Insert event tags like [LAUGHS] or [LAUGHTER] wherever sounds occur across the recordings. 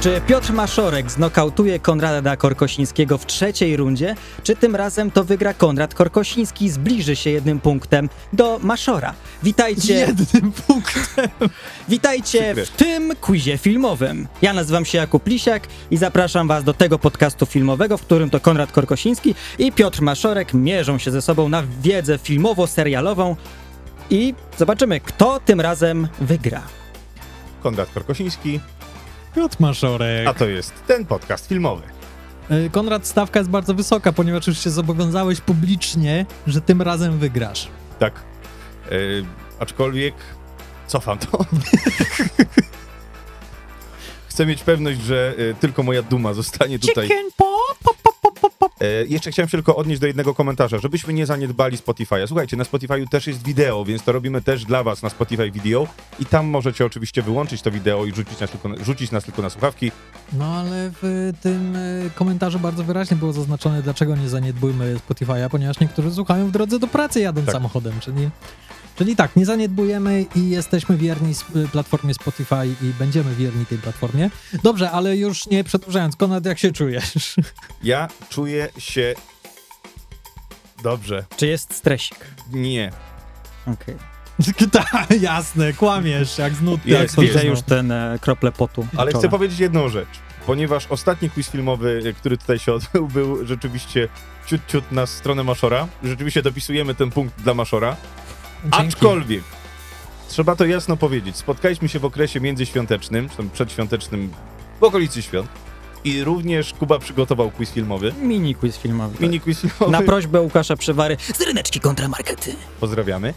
Czy Piotr Maszorek znokautuje Konrada Korkosińskiego w trzeciej rundzie, czy tym razem to wygra Konrad Korkosiński, zbliży się jednym punktem do Maszora? Witajcie, Jednym punktem. witajcie Przykre. w tym quizie filmowym. Ja nazywam się Jakub Lisiak i zapraszam was do tego podcastu filmowego, w którym to Konrad Korkosiński i Piotr Maszorek mierzą się ze sobą na wiedzę filmowo-serialową i zobaczymy, kto tym razem wygra. Konrad Korkosiński, Piotr Maszorek. a to jest ten podcast filmowy. Y, Konrad, stawka jest bardzo wysoka, ponieważ już się zobowiązałeś publicznie, że tym razem wygrasz. Tak. Yy, aczkolwiek cofam to. [LAUGHS] Chcę mieć pewność, że y, tylko moja duma zostanie tutaj. E, jeszcze chciałem się tylko odnieść do jednego komentarza, żebyśmy nie zaniedbali Spotify'a. Słuchajcie, na Spotify'u też jest wideo, więc to robimy też dla was na Spotify Video i tam możecie oczywiście wyłączyć to wideo i rzucić nas tylko na, rzucić nas tylko na słuchawki. No ale w tym y, komentarzu bardzo wyraźnie było zaznaczone, dlaczego nie zaniedbujmy Spotify'a, ponieważ niektórzy słuchają w drodze do pracy jadąc Tak. samochodem, czyli, czyli tak, nie zaniedbujemy i jesteśmy wierni sp- y, platformie Spotify i będziemy wierni tej platformie. Dobrze, ale już nie przedłużając, Konrad, jak się czujesz? [LAUGHS] Ja czuję się dobrze. Czy jest stresik? Nie. Okej. tak, jasne, kłamiesz, jak z nuty. Jest, jak jest, są Widzę znowu. już ten e, krople potu. na Ale czole. chcę powiedzieć jedną rzecz, ponieważ ostatni quiz filmowy, y, który tutaj się [LAUGHS] odbył, był rzeczywiście ciut ciut na stronę Maszora. Rzeczywiście dopisujemy ten punkt dla Maszora. Dzięki. Aczkolwiek trzeba to jasno powiedzieć. Spotkaliśmy się w okresie międzyświątecznym, czy tam przedświątecznym, w okolicy świąt. I również Kuba przygotował quiz filmowy. Mini quiz filmowy. Mini quiz filmowy. Na prośbę Łukasza Przywary z ryneczki kontramarkety. Pozdrawiamy.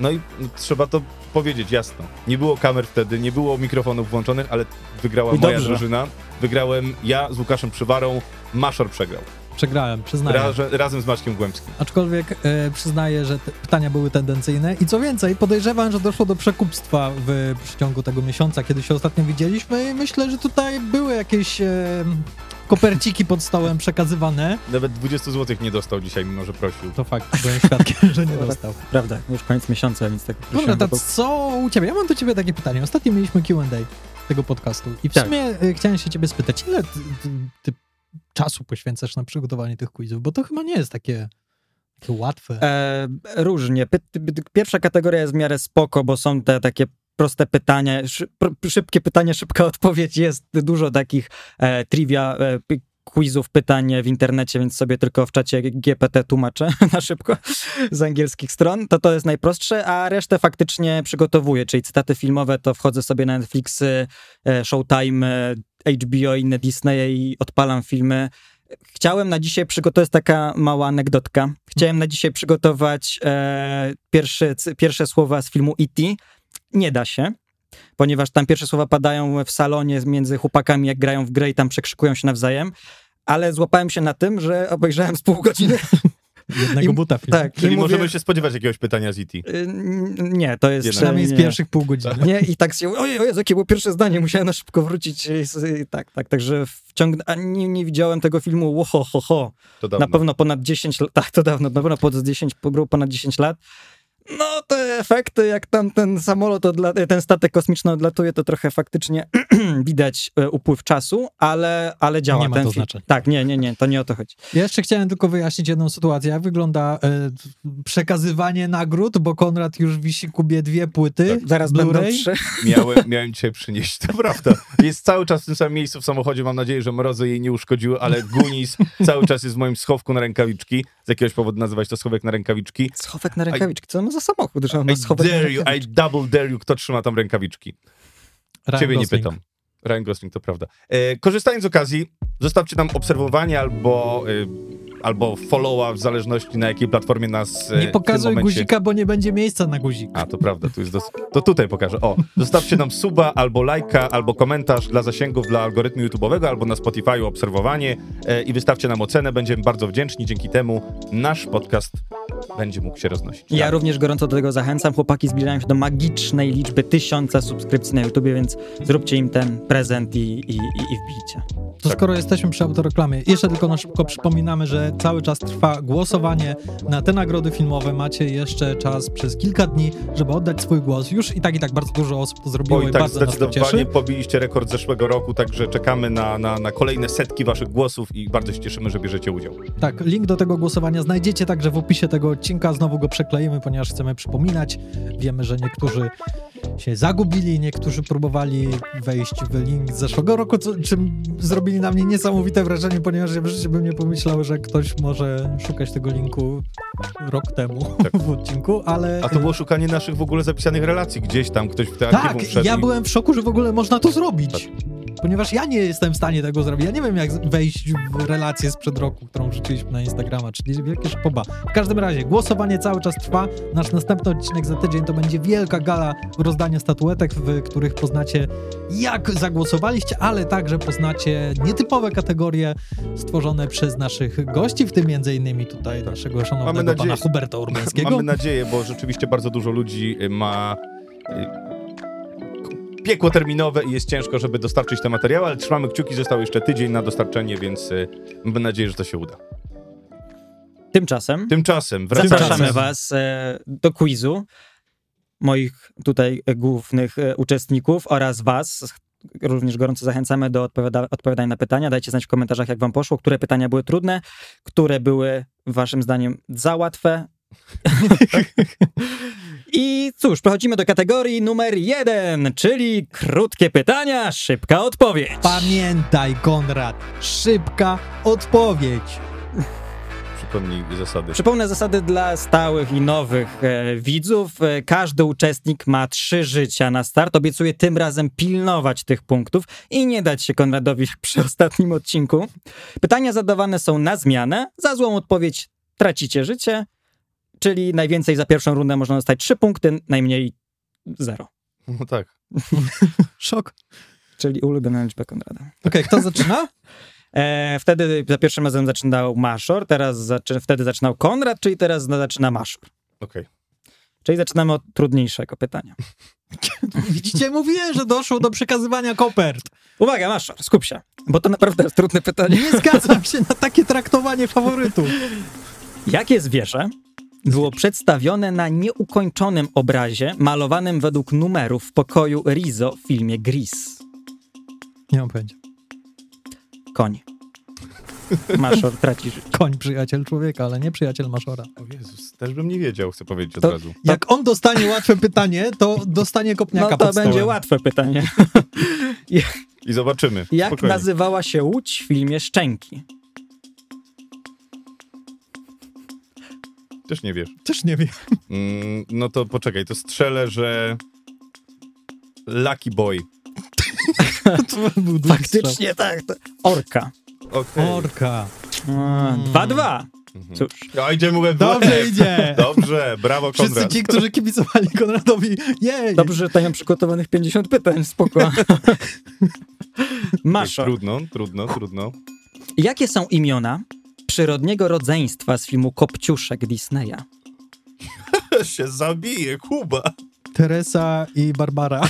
No i no, trzeba to powiedzieć jasno. Nie było kamer wtedy, nie było mikrofonów włączonych, ale wygrała I moja dobrze. drużyna. Wygrałem ja z Łukaszem Przywarą, Maszor przegrał. Przegrałem, No przyznaję. Ra razem z Maćkiem Głębskim. Aczkolwiek e, przyznaję, że te pytania były tendencyjne i co więcej, podejrzewam, że doszło do przekupstwa w przeciągu tego miesiąca, kiedy się ostatnio widzieliśmy i myślę, że tutaj były jakieś e, koperciki pod stołem przekazywane. Nawet 20 zł nie dostał dzisiaj, mimo że prosił. To fakt, byłem świadkiem, że nie dostał. Prawda, już koniec miesiąca, więc No, tak Dobra, prosiłem, to bo- co u ciebie? Ja mam do ciebie takie pytanie. Ostatnio mieliśmy Q&A tego podcastu i w Tak. sumie e, chciałem się ciebie spytać, ile ty, ty, ty czasu poświęcasz na przygotowanie tych quizów, bo to chyba nie jest takie, takie łatwe. E, różnie. Py- py- Pierwsza kategoria jest w miarę spoko, bo są te takie proste pytania, szy- pr- szybkie pytanie, szybka [LAUGHS] odpowiedź. Jest dużo takich e, trivia, e, py- quizów, pytań w internecie, więc sobie tylko w czacie GPT tłumaczę [LAUGHS] na szybko z angielskich stron. To to jest najprostsze, a resztę faktycznie przygotowuję, czyli cytaty filmowe, to wchodzę sobie na Netflix, e, Showtime, e, HBO, inne Disney i odpalam filmy. Chciałem na dzisiaj przygotować, to jest taka mała anegdotka, chciałem na dzisiaj przygotować e, pierwsze, c- pierwsze słowa z filmu E.T. Nie da się, ponieważ tam pierwsze słowa padają w salonie między chłopakami, jak grają w grę i tam przekrzykują się nawzajem, ale złapałem się na tym, że obejrzałem z pół godziny. Jednego im- buta film. Tak, i Czyli mówię, możemy się spodziewać jakiegoś pytania z E IT. y, n- Nie, to jest... e, Jednak. Przynajmniej z nie. pierwszych pół godziny. Nie, i tak się, ojej, ojej, jakie było pierwsze zdanie, musiałem na szybko wrócić. i s- i Tak, tak, także wciąg... A nie, nie widziałem tego filmu, ło, ho, ho, ho. To dawno. Na pewno ponad 10 lat, tak, to dawno, na pewno ponad 10, było ponad 10 lat. No, te efekty, jak tam ten samolot, odla, ten statek kosmiczny odlatuje, to trochę faktycznie [CLEARS THROAT] widać e, upływ czasu, ale, ale działa. Nie ma ten to film. znaczenia. Tak, nie, nie, nie, to nie o to chodzi. [LAUGHS] Ja jeszcze chciałem tylko wyjaśnić jedną sytuację. Jak wygląda e, przekazywanie nagród, bo Konrad już wisi kubie dwie E, płyty. Tak. Zaraz będą Blu-ray. trzy. [LAUGHS] Miałem, miałem cię przynieść, to prawda. Jest cały czas w tym samym miejscu w samochodzie, mam nadzieję, że mrozy jej nie uszkodziły, ale Gunis cały czas jest w moim schowku na rękawiczki. Z jakiegoś powodu nazywać to schowek na rękawiczki. Schowek na rękawiczki, co ma za samochód, że on No ma I schowek na dare you, I rękawiczki? double dare you, kto trzyma tam rękawiczki. Ryan Ciebie Gosling. nie pytam. Ryan Gosling, to prawda. E, korzystając z okazji, zostawcie nam obserwowanie albo, e, albo followa, w zależności na jakiej platformie nas e, Nie pokazuj w tym momencie... guzika, bo nie będzie miejsca na guzik. A, to prawda, tu jest dos... to tutaj pokażę. O, zostawcie nam suba, albo lajka, albo komentarz dla zasięgów dla algorytmu YouTube'owego, albo na Spotify obserwowanie e, i wystawcie nam ocenę, będziemy bardzo wdzięczni, dzięki temu nasz podcast będzie mógł się roznosić. Ja Tak. również gorąco do tego zachęcam. Chłopaki zbliżają się do magicznej liczby tysiąca subskrypcji na YouTubie, więc zróbcie im ten prezent i, i, i, i wbijcie. To Tak. to skoro jesteśmy przy autoreklamie, jeszcze tylko na szybko przypominamy, że cały czas trwa głosowanie na te nagrody filmowe. Macie jeszcze czas przez kilka dni, żeby oddać swój głos. Już i tak, i tak bardzo dużo osób to zrobiło Bo i, i tak bardzo nas to zdecydowanie cieszy. pobiliście rekord zeszłego roku, także czekamy na, na, na kolejne setki waszych głosów i bardzo się cieszymy, że bierzecie udział. Tak, link do tego głosowania znajdziecie także w opisie tego odcinka. Znowu go przekleimy, ponieważ chcemy przypominać. Wiemy, że niektórzy się zagubili, niektórzy próbowali wejść w link z zeszłego roku, co, czym zrobili na mnie niesamowite wrażenie, ponieważ ja w życiu bym nie pomyślał, że ktoś może szukać tego linku rok temu w odcinku, ale... Tak. A to było szukanie naszych w ogóle zapisanych relacji gdzieś tam, ktoś w te Tak. archiwum Tak, wszedł ja i- byłem w szoku, że w ogóle można to zrobić. Ponieważ ja nie jestem w stanie tego zrobić. Ja nie wiem, jak z- wejść w relację sprzed roku, którą wrzuciliśmy na Instagrama, czyli wielkie szpoba. W każdym razie, głosowanie cały czas trwa. Nasz następny odcinek za tydzień to będzie wielka gala rozdania statuetek, w których poznacie, jak zagłosowaliście, ale także poznacie nietypowe kategorie stworzone przez naszych gości, w tym m.in. tutaj naszego szanownego Mamy nadzieję- pana Huberta Urbańskiego. Mamy nadzieję, bo rzeczywiście bardzo dużo ludzi y, ma y, piekło terminowe i jest ciężko, żeby dostarczyć te materiały, ale trzymamy kciuki, został jeszcze tydzień na dostarczenie, więc y, mam nadzieję, że to się uda. Tymczasem Tymczasem wracamy. zapraszamy was e, do quizu moich tutaj e, głównych e, uczestników oraz was. Również gorąco zachęcamy do odpowiada- odpowiadania na pytania. Dajcie znać w komentarzach, jak wam poszło, które pytania były trudne, które były waszym zdaniem za łatwe. [LAUGHS] I cóż, przechodzimy do kategorii numer jeden, czyli krótkie pytania, szybka odpowiedź. Pamiętaj, Konrad, szybka odpowiedź. Przypomnij zasady. Przypomnę zasady dla stałych i nowych e, widzów. E, każdy uczestnik ma trzy życia na start. Obiecuję tym razem pilnować tych punktów i nie dać się Konradowi [LAUGHS] jak przy ostatnim odcinku. Pytania zadawane są na zmianę. Za złą odpowiedź tracicie życie, czyli najwięcej za pierwszą rundę można dostać trzy punkty, najmniej zero. No tak. Szok. Czyli ulubiona liczba Konrada. Okej, kto zaczyna? E, wtedy za pierwszym razem zaczynał Maszor, teraz zaczy- wtedy zaczynał Konrad, czyli teraz zaczyna Maszor. Okej. Czyli zaczynamy od trudniejszego pytania. Widzicie, mówiłem, że doszło do przekazywania kopert. Uwaga, masz, skup się, bo to naprawdę [LAUGHS] jest trudne pytanie. Nie zgadzam się na takie traktowanie faworytów. Jakie zwierzę było przedstawione na nieukończonym obrazie malowanym według numerów w pokoju Rizzo w filmie Gris? Nie mam pojęcia. Koń. Maszor, [LAUGHS] tracisz. Koń przyjaciel człowieka, ale nie przyjaciel maszora. O Jezus, też bym nie wiedział, chcę powiedzieć od To- razu. Jak on dostanie łatwe pytanie, to dostanie No kopniaka to pod stołem. będzie łatwe pytanie. I zobaczymy. [LAUGHS] Jak Spokojnie. nazywała się łódź w filmie Szczęki? Też nie wiesz. Też nie wiem. Mm, no to poczekaj, to strzelę, że... Lucky Boy. To był długi strzał. Faktycznie tak. to- Orka. Okej. Orka. Hmm. 2-2. Mhm. Cóż. A idziemy łeb w Dobrze łeb. idzie. Dobrze, brawo Wszyscy Konrad. ci, którzy kibicowali Konradowi, jej! Dobrze, że tutaj mam przygotowanych 50 pytań, [LAUGHS] spoko. Maszor. Trudno, trudno, trudno. Jakie są imiona przyrodniego rodzeństwa z filmu Kopciuszek Disneya? się zabije, Kuba. Teresa i Barbara.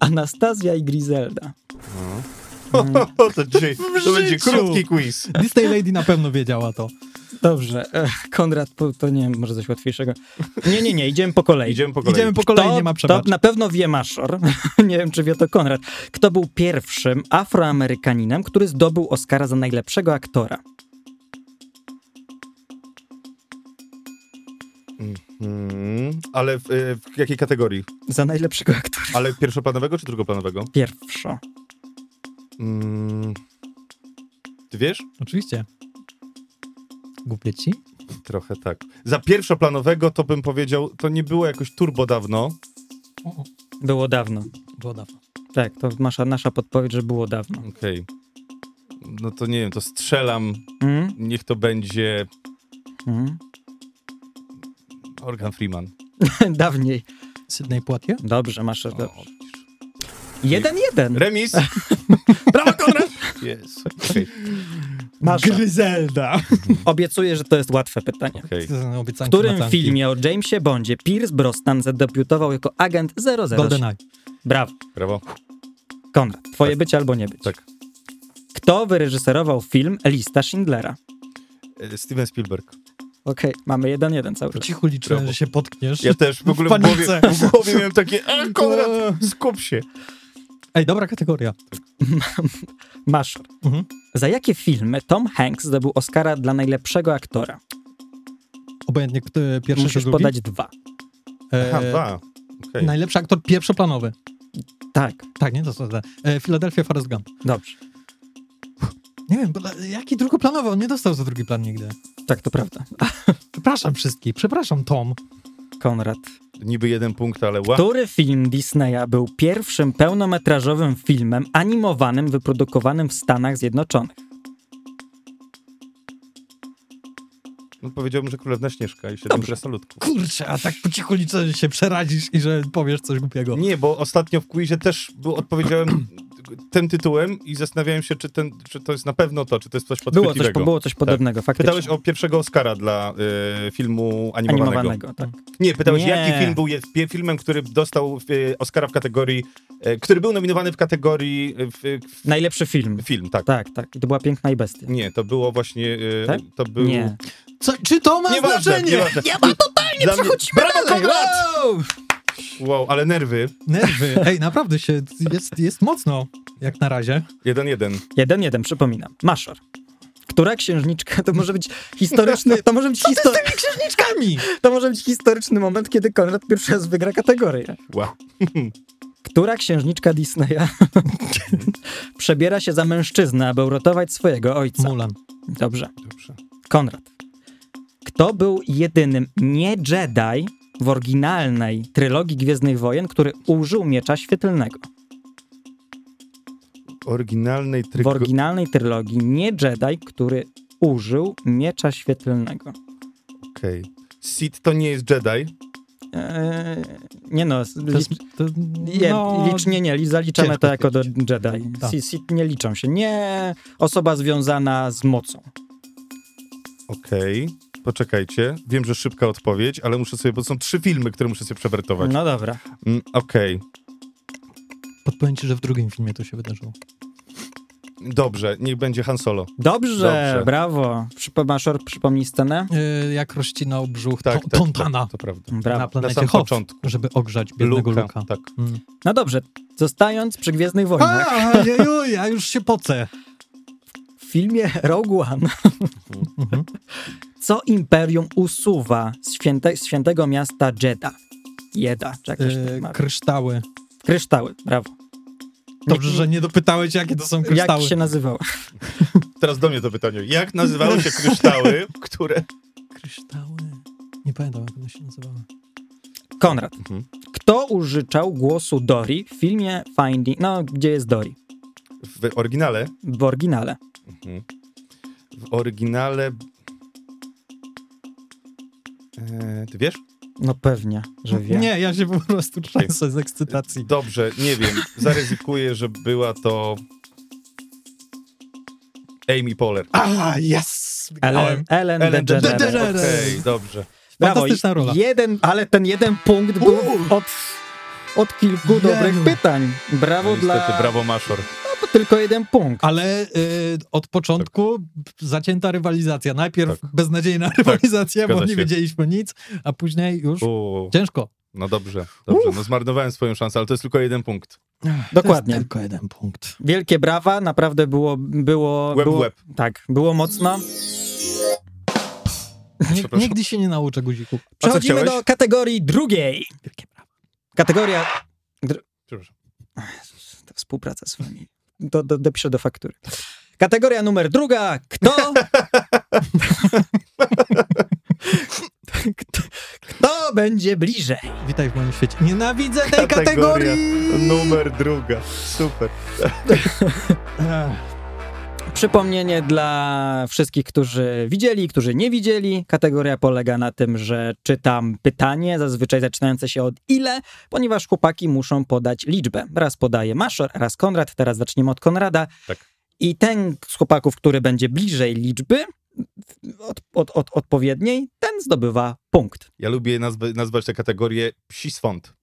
Anastazja i Griselda. O, [LAUGHS] to dzisiaj to życiu. będzie krótki quiz. Disney Lady na pewno wiedziała to. Dobrze, e, Konrad, po- to nie wiem, może coś łatwiejszego. Nie, nie, nie, idziemy po kolei. Idziemy po kolei. Idziemy po kolei, nie ma to przebacz. na pewno wie Maszor, [LAUGHS] nie wiem czy wie to Konrad, kto był pierwszym afroamerykaninem, który zdobył Oscara za najlepszego aktora. Mhm. Ale w, e, w jakiej kategorii? Za najlepszego aktora. Ale pierwszoplanowego czy drugoplanowego? Pierwszo. Mm. Ty wiesz? Oczywiście. Głupie ci? Trochę tak. Za pierwszoplanowego to bym powiedział, to nie było jakoś turbo dawno. Było dawno. Było dawno. Tak, to nasza, nasza podpowiedź, że było dawno. Okej. No to nie wiem, to strzelam. Mm? Niech to będzie Mm? Organ Freeman. [LAUGHS] Dawniej. Sydney Poitier? Dobrze, Maszor. do- O, widzisz. Jeden, jeden. Remis! Brawo, Konrad! Jest. Okej, Masz. Gryzelda! Obiecuję, że to jest łatwe pytanie. okej. W którym filmie o Jamesie Bondzie Pierce Brosnan zadebiutował jako agent 007? GoldenEye. Brawo. Brawo. Tak. Konrad, twoje być albo nie być. Tak. Kto wyreżyserował film Lista Schindlera? E, Steven Spielberg. Okej, mamy jeden jeden cały czas. Cichu liczyłem, Brawo. że się potkniesz. Ja też w ogóle w panice. głowie, w głowie miałem takie, a Konrad, skup się. Ej, dobra kategoria. Masz. Mhm. Za jakie filmy Tom Hanks zdobył Oscara dla najlepszego aktora? Obojętnie kto- e, pierwszy Musisz czy drugi. podać dwa. E, Aha, dwa. Okej. Najlepszy aktor pierwszoplanowy. Tak, Tak, nie? To są te. E, Philadelphia Forrest Gump. dobrze. Nie wiem, bo dla- jaki drugoplanowy? On nie dostał za drugi plan nigdy. Tak, to prawda. Przepraszam wszystkich, przepraszam Tom. Konrad. Niby jeden punkt, ale ła. Który film Disneya był pierwszym pełnometrażowym filmem animowanym wyprodukowanym w Stanach Zjednoczonych? No, powiedziałbym, że Królewna Śnieżka i Siedem Dobrze. Krasnoludków. Kurczę, a tak po cichu liczę, że się przerazisz i że powiesz coś głupiego. Nie, bo ostatnio w quizie też był, odpowiedziałem [CLEARS THROAT] tym tytułem i zastanawiałem się, czy, ten, czy to jest na pewno to, czy to jest coś Było coś, podchwytliwego. Tak. było coś podobnego, faktycznie. Pytałeś o pierwszego Oscara dla y, filmu animowanego. animowanego. Tak. Nie, pytałeś, Nie. jaki film był je, pie- filmem, który dostał y, Oscara w kategorii, y, który był nominowany w kategorii y, w, w, Najlepszy film. film, tak. Tak, tak. I to była piękna i bestia. Nie, to było właśnie, y, Tak? to był... Nie. Co, czy to ma Nieważne, znaczenie? nieważne. Ja mam totalnie Dla mnie- Brawo, no, Konrad! Wow, ale nerwy. Nerwy. Ej, naprawdę się, jest, jest mocno, jak na razie. Jeden, jeden. Jeden, jeden, przypominam. Maszor. Która księżniczka, to może być historyczny, to może być, histo- Księżniczkami! to może być historyczny moment, kiedy Konrad pierwszy raz wygra kategorię. Wow. Która księżniczka Disneya [LAUGHS] przebiera się za mężczyznę, aby uratować swojego ojca? [LAUGHS] Mulan. Dobrze. Dobrze. Konrad. Kto był jedynym nie Jedi w oryginalnej trylogii Gwiezdnych Wojen, który użył miecza świetlnego? Oryginalnej W tryko... oryginalnej trylogii nie Jedi, który użył miecza świetlnego. Okej. Sith to nie jest Jedi. Eee, nie no, To jest, to, nie, no, licznie nie, li- zaliczamy ciężko to jako do stwierdzić. Jedi. Tak. Si- si- nie liczą się. Nie osoba związana z mocą. Okej. Poczekajcie. Wiem, że szybka odpowiedź, ale muszę sobie, bo są trzy filmy, które muszę sobie przewertować. No dobra. Mm, Okej. Podpowiem ci, że w drugim filmie to się wydarzyło. Dobrze, niech będzie Han Solo. Dobrze, Dobrze. brawo. Przypo- Maszor, przypomnij scenę. E, jak rozcinał brzuch Tak, tak, tak, Tontana tak, to prawda. Brawo. na planecie sam Hoth, początku. żeby ogrzać biednego Luka. Tak. Mm. No dobrze, zostając przy Gwiezdnych Wojnach. A, jeju, ja już się pocę. w filmie Rogue One, Mhm. co Imperium usuwa z, święte, z świętego miasta Jedda? Jeda, czy jak to się E, nazywa? kryształy. Kryształy, brawo. Dobrze, że nie dopytałeś, jakie to są Jak kryształy. się nazywało? Teraz do mnie to pytanie. Jak nazywały się kryształy, które... Kryształy. Nie pamiętam, jak one się nazywały. Konrad, Mhm. kto użyczał głosu Dory w filmie Finding... No, gdzie jest Dory? W oryginale... W oryginale. W oryginale... E, ty wiesz? No pewnie, że wie. Nie, ja się po prostu trzęsę z ekscytacji. Dobrze, nie wiem. Zaryzykuję, że była to... Amy Poehler. A, yes! Ellen, Wygrałem. Ellen, Ellen DeGeneres. DeGeneres. DeGeneres. Okej, dobrze. Brawo, Fantastyczna rola. Jeden, ale ten jeden punkt był Uuu. od, od kilku Jeju. dobrych pytań. Brawo No, dla... niestety, brawo Maszor. No, tylko jeden punkt. Ale y, od początku zacięta rywalizacja. Najpierw beznadziejna rywalizacja, bo Tak. zgadza nie się. wiedzieliśmy nic, a później już Uuu, ciężko. no dobrze, dobrze. No zmarnowałem swoją szansę, ale to jest tylko jeden punkt. Dokładnie. To jest tylko jeden punkt. Wielkie brawa, naprawdę było... było Łeb w było, łeb. Tak, było mocno. Nig- Przepraszam. nigdy się nie nauczę guzików. A co Przechodzimy chciałeś? do kategorii drugiej. Wielkie brawo. Kategoria... Przepraszam. Ta współpraca z wami. Do, do, dopiszę do faktury. Kategoria numer druga. Kto... Kto, kto będzie bliżej? Witaj w moim świecie. Nienawidzę tej kategorii! Numer druga. Super. Ech, Przypomnienie dla wszystkich, którzy widzieli, którzy nie widzieli. Kategoria polega na tym, że czytam pytanie, zazwyczaj zaczynające się od ile, ponieważ chłopaki muszą podać liczbę. Raz podaje Maszor, raz Konrad, teraz zaczniemy od Konrada. Tak. I ten z chłopaków, który będzie bliżej liczby od, od, od odpowiedniej, ten zdobywa punkt. Ja lubię nazwy, nazwać tę kategorię psi swąd.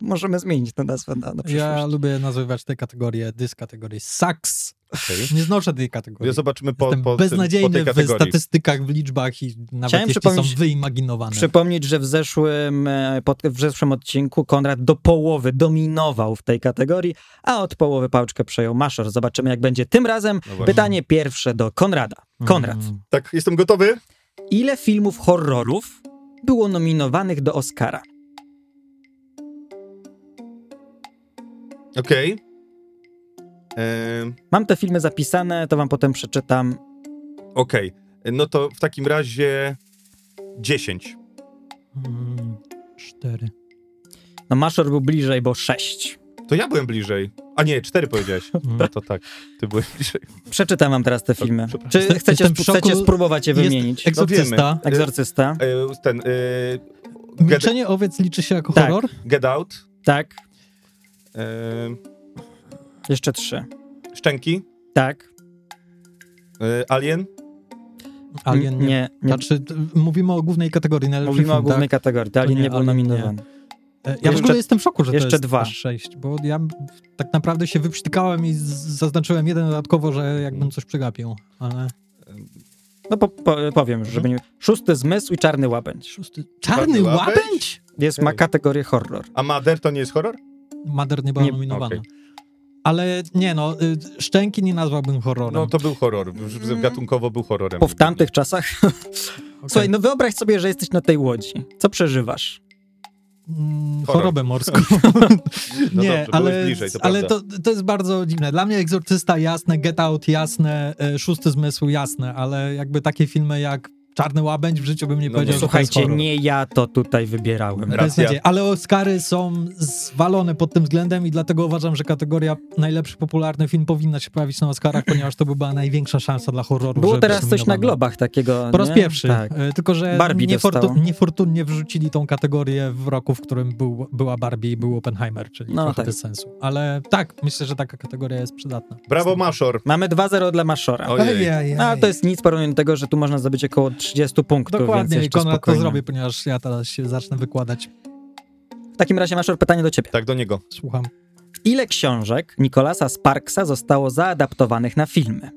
Możemy zmienić tę nazwę na, na przyszłość. Ja lubię nazywać te kategorie dyskategorii. Saks, Okej. Nie znoszę tej kategorii. Ja zobaczymy po, Jestem po, tym, po tej beznadziejny w kategorii. statystykach, w liczbach i nawet Chciałem jeśli przypomnieć- są wyimaginowane. Przypomnieć, że w zeszłym, e, pod, w zeszłym odcinku Konrad do połowy dominował w tej kategorii, a od połowy pałczkę przejął Maszor. Zobaczymy, jak będzie tym razem. No właśnie. Pytanie pierwsze do Konrada. Konrad, Mm. Tak, jestem gotowy? ile filmów horrorów było nominowanych do Oscara? Okej. Em, Mam te filmy zapisane, to wam potem przeczytam. Okej. No to w takim razie 10. Mm, Cztery. No Maszor był bliżej, bo sześć. To ja byłem bliżej. A nie, 4 powiedziałeś. No to tak, ty byłeś bliżej. Przeczytam wam teraz te filmy. przepraszam. Czy Jestem- chcecie, jestem w szoku. chcecie spróbować je Jest wymienić? Egzorcysta. No wiemy. Egzorcysta, E, Ten, e, get, Milczenie owiec liczy się jako Tak. horror? get Out, tak. e, Jeszcze trzy. Szczęki, Tak. e, Alien. Alien nie. nie, nie. Znaczy, t- mówimy o głównej kategorii najlepszych Mówimy o film, tak. głównej kategorii, to Alien nie, nie był Alien nie. nominowany. tak? E, Ja w Jeszcze- ogóle jestem w szoku, że jeszcze to jest dwa. aż sześć, bo ja m- tak naprawdę się wyprztykałem i z- zaznaczyłem jeden dodatkowo, że jakbym coś przegapił, ale No po, po, powiem, Mhm. już, żeby nie... Szósty zmysł i czarny łabędź. szósty... Czarny łabędź? łabędź? Jest, ma kategorię horror. A Mother to nie jest horror? Mader nie była Nie, nominowana. okej. Ale nie no, y, Szczęki nie nazwałbym horrorem. No to był horror. Mm. Już Gatunkowo był horrorem. Bo w tamtych czasach... Okej. Słuchaj, no wyobraź sobie, że jesteś na tej łodzi. Co przeżywasz? Mm, Horror. chorobę [LAUGHS] morską. No nie, dobrze, byłeś ale, bliżej, to ale prawda. to, to jest bardzo dziwne. Dla mnie Egzorcysta jasne, Get Out jasne, e, Szósty Zmysł jasne, ale jakby takie filmy jak Czarny Łabędź w życiu bym nie No powiedział, nie. że to jest Słuchajcie, horror. nie ja to tutaj wybierałem. Racja. Beznadziej. Ale Oscary są zwalone pod tym względem i dlatego uważam, że kategoria najlepszy popularny film powinna się pojawić na Oscarach, ponieważ to by była największa szansa dla horroru. Było żeby teraz coś na zdominowane. globach takiego, Po raz nie? pierwszy. Tak. E, Tylko, że Barbie dostało. niefortun, niefortunnie wrzucili tą kategorię w roku, w którym był, była Barbie i był Oppenheimer, czyli No trochę tak. bez sensu. Ale tak, myślę, że taka kategoria jest przydatna. Brawo, Maszor. Mamy 2-0 dla Maszora. Ojej. No, ale to jest nic porównanie do tego, że tu można zdobyć około 30 punktów, więc Dokładnie, i jeszcze Konrad spokojnie. to zrobi, ponieważ ja teraz się zacznę wykładać. W takim razie, Maszor, pytanie do ciebie. Tak, do niego. Słucham. Ile książek Nicolasa Sparksa zostało zaadaptowanych na filmy?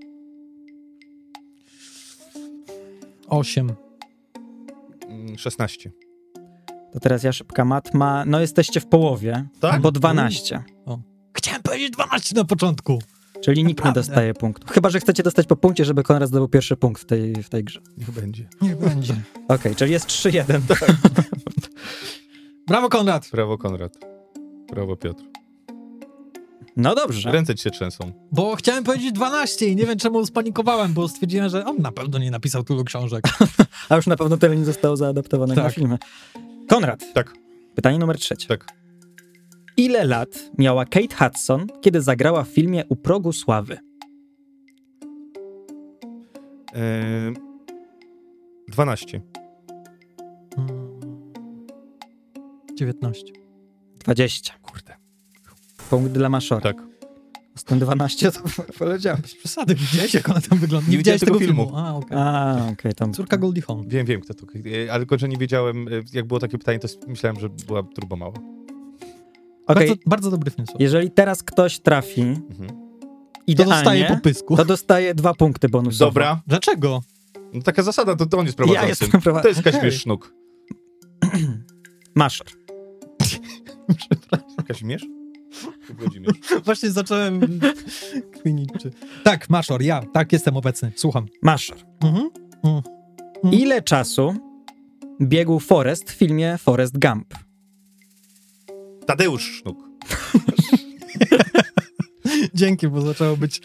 Osiem. Mm, 16. To teraz ja szybka matma. No jesteście w połowie, Tak? bo 12. Chciałem powiedzieć 12 na początku. Czyli nikt nie Naprawdę? dostaje punktu. Chyba, że chcecie dostać po punkcie, żeby Konrad zdobył pierwszy punkt w tej, w tej grze. Niech będzie. Niech będzie. Okej, czyli jest 3-1. Brawo, Konrad! Brawo, Konrad. Brawo, Piotr. No dobrze. Ręce ci się trzęsą. Bo chciałem powiedzieć 12 i nie wiem czemu spanikowałem, bo stwierdziłem, że on na pewno nie napisał tylu książek. A już na pewno tyle nie zostało zaadaptowanych na Tak. filmy. Konrad, Tak, pytanie numer trzecie. tak. Ile lat miała Kate Hudson, kiedy zagrała w filmie U progu sławy? Ehm, 12. Mm. 19. 20. Kurde. Punkt dla Maszora. Tak. Z tym 12 to [LAUGHS] powiedziałem. Bez przesady, widziałeś jak ona tam wygląda? Nie widziałem tego filmu. A, okej. A, okej, tam. Córka Goldie Hawn. Wiem, wiem, kto to. e, Ale tylko, że nie wiedziałem, e, jak było takie pytanie, to s- myślałem, że była turbo mała. Okej, Bardzo, bardzo dobry film. słuchaj. jeżeli teraz ktoś trafi Mhm. To idealnie, dostaje po pysku. to dostaje dwa punkty bonusowe. Dobra. Dlaczego? No taka zasada, to, to on Ja jest prowadzącym. jestem To prowadzącym. jest okay. Okej. Kaźmierz Sznuk. Maszor. Kaźmierz? Włodzimierz. Właśnie [LAUGHS] zacząłem kminić. Czy... Tak, Maszor, ja. Tak, jestem obecny. Słucham. Maszor. Mhm. Mm. Mhm. Ile czasu biegł Forrest w filmie Forrest Gump? Tadeusz Sznuk. Dzięki, bo zaczęło być...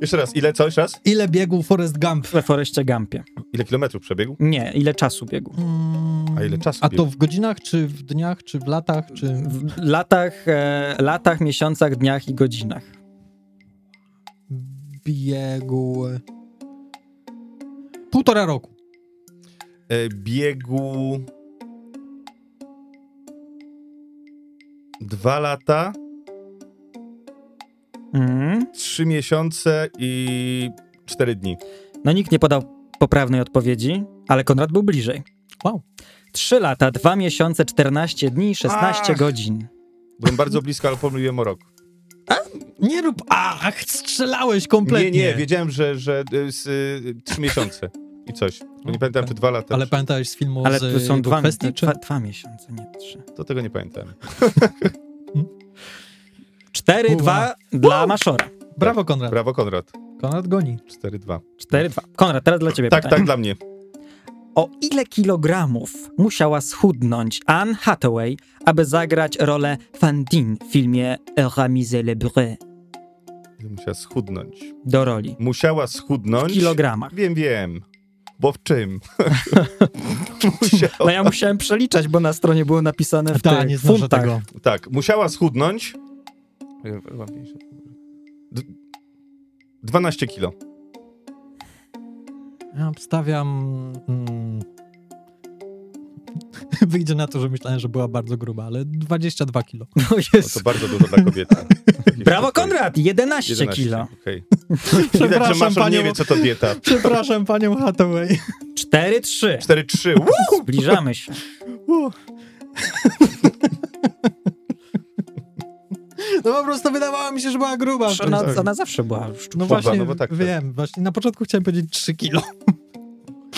Jeszcze raz, ile, co, jeszcze raz? Ile biegł Forrest Gump? We Forreście Gumpie. Ile kilometrów przebiegł? Nie, ile czasu biegł? Mm. A ile czasu A to biegł? w godzinach, czy w dniach, czy w latach, czy... W latach, e, latach, miesiącach, dniach i godzinach. Biegł... Półtora roku. E, biegł... Dwa lata, Mm. trzy miesiące i cztery dni. No nikt nie podał poprawnej odpowiedzi, ale Konrad był bliżej. Wow. 3 lata, 2 miesiące, 14 dni, 16 Ach. godzin. Byłem bardzo blisko, ale pomyliłem o rok. Nie rób ach, strzelałeś kompletnie. Nie, nie, wiedziałem, że, że y, z, y, trzy miesiące i coś. Bo nie pamiętam, czy dwa lata. Ale Ale... pamiętałeś z filmu Ale z tu są jego dwa, kwestii, czy... dwa, dwa miesiące, nie trzy. To tego nie pamiętam. Cztery, Uwa. dwa dla Maszora. Brawo, Konrad. Brawo, Konrad. Konrad goni. 4-2. Cztery, dwa. Konrad, teraz dla ciebie Tak, pytanie. tak, dla mnie. O ile kilogramów musiała schudnąć Anne Hathaway, aby zagrać rolę Fandine w filmie Ramise le Bré Musiała schudnąć. do roli? Musiała W schudnąć. kilogramach. Wiem, wiem. Bo w czym? [LAUGHS] musiała, No ja musiałem przeliczać, bo na stronie było napisane w Ta, tych nie znoszę funtach. tego. tak, musiała schudnąć. D- 12 kilo. Ja obstawiam... Mm, [LAUGHS] wyjdzie na to, że myślałem, że była bardzo gruba, ale 22 kilo. No No jest. to bardzo dużo [LAUGHS] dla kobiety. Brawo Konrad, 11, 11 kilo. okej. Widać, że Przepraszam Maszon nie panią, wie, co to dieta. przepraszam panią Hathaway. 4-3. 4-3. Uu! Zbliżamy się. [LAUGHS] No po prostu wydawało mi się, że była gruba. Ona, ona zawsze była szczupła. No Kurwa, właśnie, no bo tak, tak. wiem. Właśnie na początku chciałem powiedzieć 3 kilo.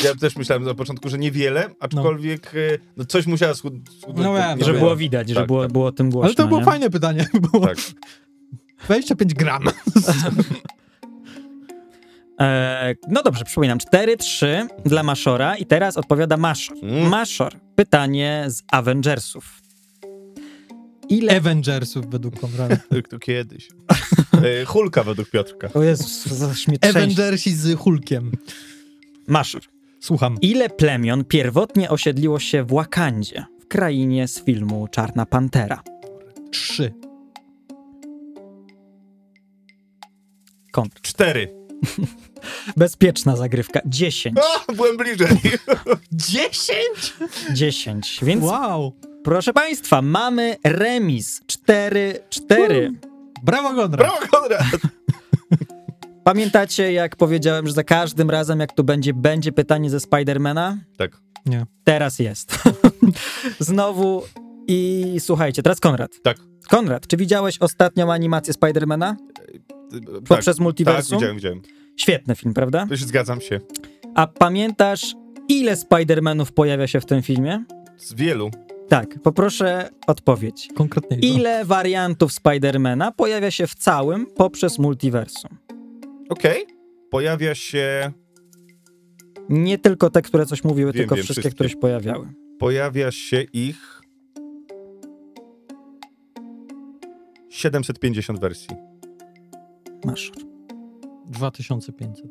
Ja też myślałem na początku, że niewiele, aczkolwiek e, no coś musiała schud- schudnąć. No bo- wiem, nie Że wiem. było widać, że Tak, było, tak. było o tym głośno. Ale to było nie? fajne pytanie. Było Tak. 25 [LAUGHS] gram. E, no dobrze, przypominam. 4-3 dla Maszora i teraz odpowiada Maszor. Mm. Maszor, pytanie z Avengersów. Ile... Avengersów według Konrada. To kiedyś. E, Hulka według Piotrka. o Jezus, aż mnie trzęsie. Avengersi z Hulkiem. Maszor. Słucham. Ile plemion pierwotnie osiedliło się w Wakandzie, w krainie z filmu Czarna Pantera? Trzy. Kontra. Cztery. Bezpieczna zagrywka. 10. [LAUGHS] A, byłem bliżej. Dziesięć? 10. Więc Wow. proszę państwa, mamy remis. 4-4. Brawo, Konrad. Brawo, Konrad. Pamiętacie, jak powiedziałem, że za każdym razem, jak tu będzie, będzie pytanie ze Spidermana? Tak, Nie. Teraz jest. [LAUGHS] Znowu i słuchajcie, teraz Konrad. tak. Konrad, czy widziałeś ostatnią animację Spidermana poprzez E, tak, multiversum? widziałem, widziałem. Świetny film, prawda? To się zgadzam się. A pamiętasz, ile Spidermanów pojawia się w tym filmie? Z wielu. Tak, poproszę odpowiedź. Konkretnie. Ile wariantów Spidermana pojawia się w całym poprzez multiversum? Okej. Pojawia się... Nie tylko te, które coś mówiły, Wiem, tylko wiem, wszystkie, wszystkie. które się pojawiały. Pojawia się ich... 750 wersji. Masz. 2500.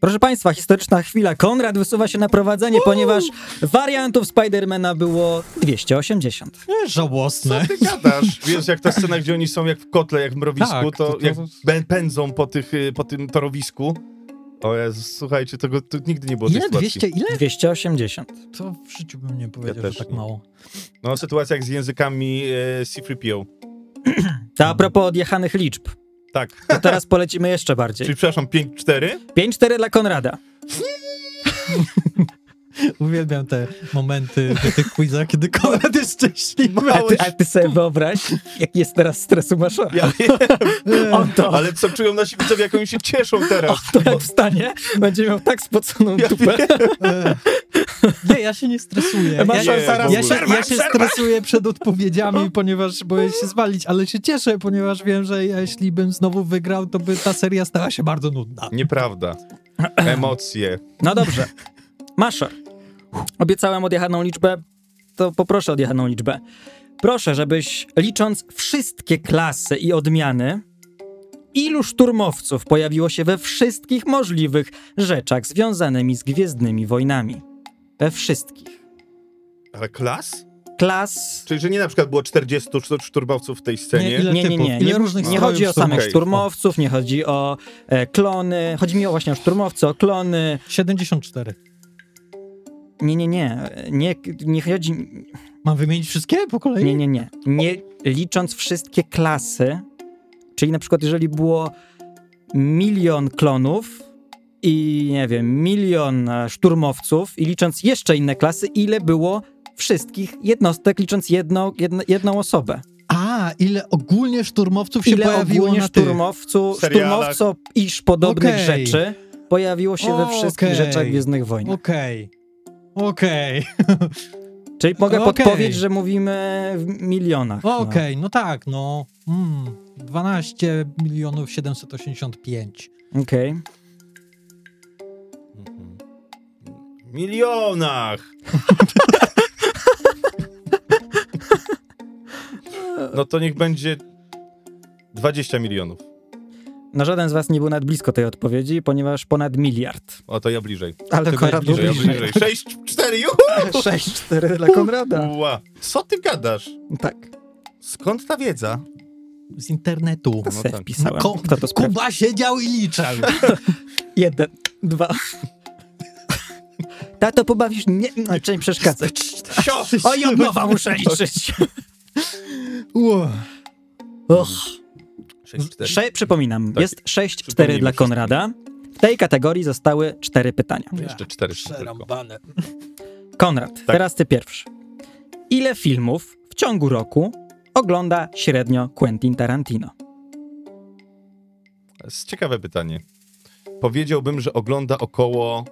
Proszę Państwa, historyczna chwila. Konrad wysuwa się na prowadzenie, ponieważ wariantów Spidermana było 280. Nie, Co Żałosne. ty gadasz? [LAUGHS] Wiesz, jak ta scena, gdzie oni są jak w kotle, jak w mrowisku, Tak, to, to- to- jak bę- pędzą po, tych, y, po tym torowisku. O Jezus, słuchajcie, tego tu nigdy nie było tej Ile? sytuacji. 200? Ile? 280. To w życiu bym nie powiedział, też że tak nie. mało. No, sytuacja jak z językami e, C-3PO. To a propos odjechanych liczb, Tak. to teraz polecimy jeszcze bardziej. Czyli, przepraszam, 5-4? 5-4 dla Konrada. Uwielbiam te momenty w tych quizach, kiedy Konrad jest szczęśliwy. A Mało ty, a ty sobie wyobraź, jaki jest teraz stres u Maszora. Ja wiem. [LAUGHS] On to- Ale co czują nasi widzowie, jak oni się cieszą teraz. [LAUGHS] To jak wstanie, będzie miał tak spoconą Ja dupę. wiem. E, Nie, ja się nie stresuję. Masz ja, Nie, zaraz w ja, się, ogóle. ja się stresuję przed odpowiedziami, ponieważ boję się zwalić, ale się cieszę, ponieważ wiem, że jeśli bym znowu wygrał, to by ta seria stała się bardzo nudna. Nieprawda. Emocje. No dobrze. Maszor, obiecałem odjechaną liczbę, to poproszę odjechaną liczbę. Proszę, żebyś licząc wszystkie klasy i odmiany, ilu szturmowców pojawiło się we wszystkich możliwych rzeczach związanymi z Gwiezdnymi Wojnami? We wszystkich. Ale klas? Klas... Czyli, że nie na przykład było 40 sztu- szturmowców w tej scenie? ile Nie, nie, typów? nie. Ile Nie, różnych nie stroju chodzi o szturmowców? samych Okej. szturmowców, nie chodzi o e, klony. Chodzi mi o właśnie o szturmowce, o klony. 74. Nie, nie, nie. Nie, nie chodzi... Mam wymienić wszystkie po kolei? Nie, nie, nie. Nie licząc wszystkie klasy, czyli na przykład jeżeli było milion klonów i nie wiem, milion e, szturmowców i licząc jeszcze inne klasy, ile było wszystkich jednostek, licząc jedno, jedno, jedną osobę. A, ile ogólnie szturmowców się Ile pojawiło ogólnie na tych? szturmowcu, serialach. szturmowco iż podobnych Okej. rzeczy pojawiło się we wszystkich Okej. rzeczach Gwiezdnych Wojen. Okej. Okej. Czyli mogę Okej. podpowiedzieć, że mówimy w milionach. no. Okej, no tak, no. Mm, 12 milionów 785. Okej. Milionach! No to niech będzie 20 milionów. No żaden z was nie był nawet blisko tej odpowiedzi, ponieważ ponad miliard. O, to ja bliżej. Ale Ty byłeś Konrad Bliżej, ja Bliżej. bliżej. 6, 4, juhu! [LAUGHS] 6-4 dla Konrada. Ła. Co ty gadasz? Tak, Skąd ta wiedza? Z internetu. No se tak. wpisałem. Ko- Kto to sprawdził? Kuba siedział i liczał. Jeden, dwa. Tato, pobawisz? Nie, znaczy nie przeszkadzać. Sio! Oj, od nowa muszę liczyć. Ło. Och. 6, 4. Sze, przypominam, Tak. jest 6-4 Przypomnijmy dla wszystkim. Konrada. W tej kategorii zostały cztery pytania. Jeszcze 4. Przerąbane. Konrad, Tak. teraz ty pierwszy. Ile filmów w ciągu roku ogląda średnio Quentin Tarantino? Ciekawe pytanie. Powiedziałbym, że ogląda około...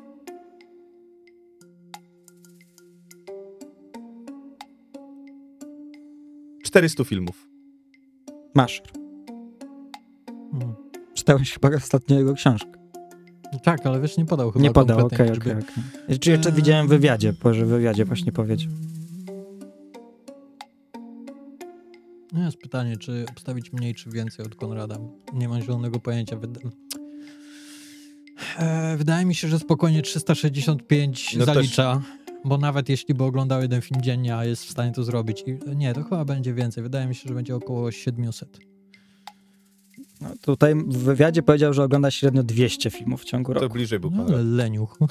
...400 filmów. Masz. Mm. Czytałeś chyba ostatnio jego książkę. No Tak, ale wiesz, nie podał chyba nie podał, okej, konkretnej okej. liczby. okej. Czy jeszcze Eee. widziałem w wywiadzie, bo że w wywiadzie właśnie powiedział. No jest pytanie, czy obstawić mniej, czy więcej od Konrada. Nie mam zielonego pojęcia. Wyda- e, wydaje mi się, że spokojnie 365 No też- zalicza, bo nawet jeśli by oglądał jeden film dziennie, a jest w stanie to zrobić. I, nie, to chyba będzie więcej. Wydaje mi się, że będzie około 700. No, tutaj w wywiadzie powiedział, że ogląda średnio 200 filmów w ciągu To roku. bliżej był No, Konrad. ale leniuch. [LAUGHS]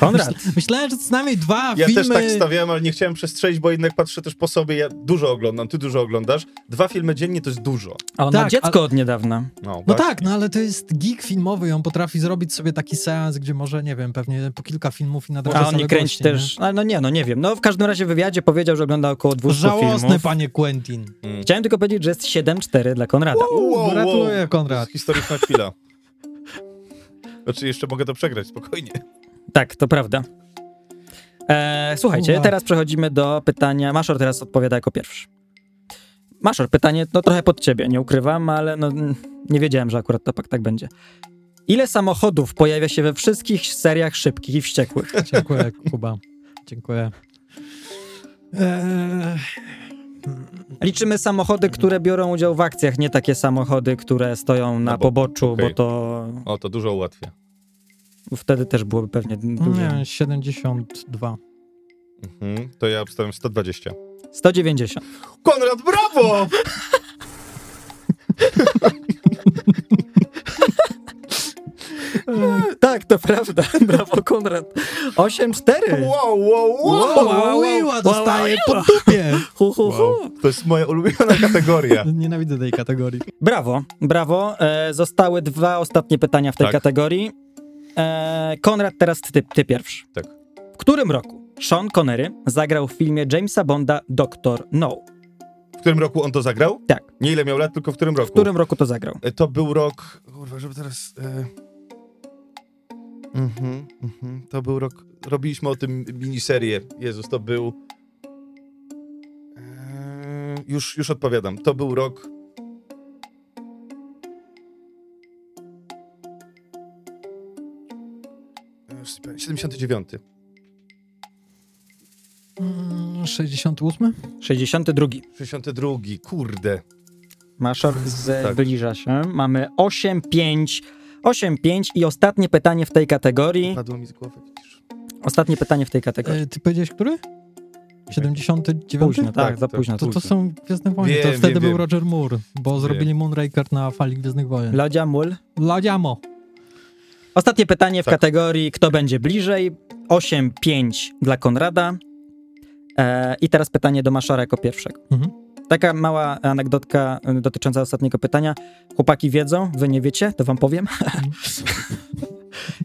Konrad, Myślałem, że co najmniej dwa Ja filmy... też tak stawiałem, ale nie chciałem przestrzelić, bo jednak patrzę też po sobie. Ja dużo oglądam, ty dużo oglądasz. Dwa filmy dziennie to jest dużo. a on ma Tak, dziecko od niedawna. No, No właśnie. tak, no ale to jest geek filmowy i on potrafi zrobić sobie taki seans, gdzie może, nie wiem, pewnie po kilka filmów i na drodze A on nie same kręci gości, też. A no nie, no nie wiem. No w każdym razie w wywiadzie powiedział, że ogląda około Nie? 200 Żałosny, filmów. panie Quentin. Chciałem tylko powiedzieć, że jest 7-4 dla Konrada. Uuu, gratuluję, To Konrad. jest historyczna [LAUGHS] chwila. Znaczy, jeszcze mogę to przegrać, spokojnie. Tak, to prawda. E, słuchajcie, Uwa. teraz przechodzimy do pytania. Maszor teraz odpowiada jako pierwszy. Maszor, pytanie no trochę pod ciebie, nie ukrywam, ale no, mm, nie wiedziałem, że akurat to pak tak będzie. Ile samochodów pojawia się we wszystkich seriach szybkich i wściekłych? Dziękuję, Kuba. Dziękuję. Eee, Liczymy samochody, które biorą udział w akcjach, nie takie samochody, które stoją na No bo- poboczu, okej. bo to O, to dużo ułatwia. wtedy też byłoby pewnie dużo. no nie, 72. Mhm, to ja obstawiam 120. 190. Konrad, brawo! Tak, to prawda. [LAUGHS] Brawo, Konrad. 8-4. Wow, wow, wow! Wow, wow, Ławiła wow, dostaje wow. po dupie. [LAUGHS] Hu, hu, hu. To jest moja ulubiona [LAUGHS] kategoria. Nienawidzę tej kategorii. Brawo, brawo. E, zostały dwa ostatnie pytania w tej Tak. kategorii. E, Konrad, teraz ty, ty pierwszy. Tak. W którym roku Sean Connery zagrał w filmie Jamesa Bonda Doctor No? W którym roku on to zagrał? Tak. Nie ile miał lat, tylko w którym roku? W którym roku to zagrał? E, To był rok. Kurwa, żeby teraz. E... Mhm, mhm. To był rok. Robiliśmy o tym miniserię. Jezus, to był. E... Już, już odpowiadam. To był rok. E, już sobie powiem, 79. Mm, 68? 62. 62. Kurde. Maszor zbliża Tak. zbliża się. Mamy 8-5. 8-5 i ostatnie pytanie w tej kategorii. Padło mi z głowy, widzisz. Ostatnie pytanie w tej kategorii. E, ty powiedziałeś, który? 79? Późno, tak, tak, za tak. późno. To, to późno. są Gwiezdne Wojny, to Wiem, wtedy wiem, był wiem. Roger Moore, bo zrobili Moonraker na fali Gwiezdnych Wojen. La... Lodzia Mul. Ladiamo. Ostatnie pytanie w Tak. kategorii kto będzie bliżej. 8-5 dla Konrada. E, I teraz pytanie do Maszara jako pierwszego. Mhm. Taka mała anegdotka y, dotycząca ostatniego pytania. Chłopaki wiedzą, wy nie wiecie, to wam powiem. [LAUGHS]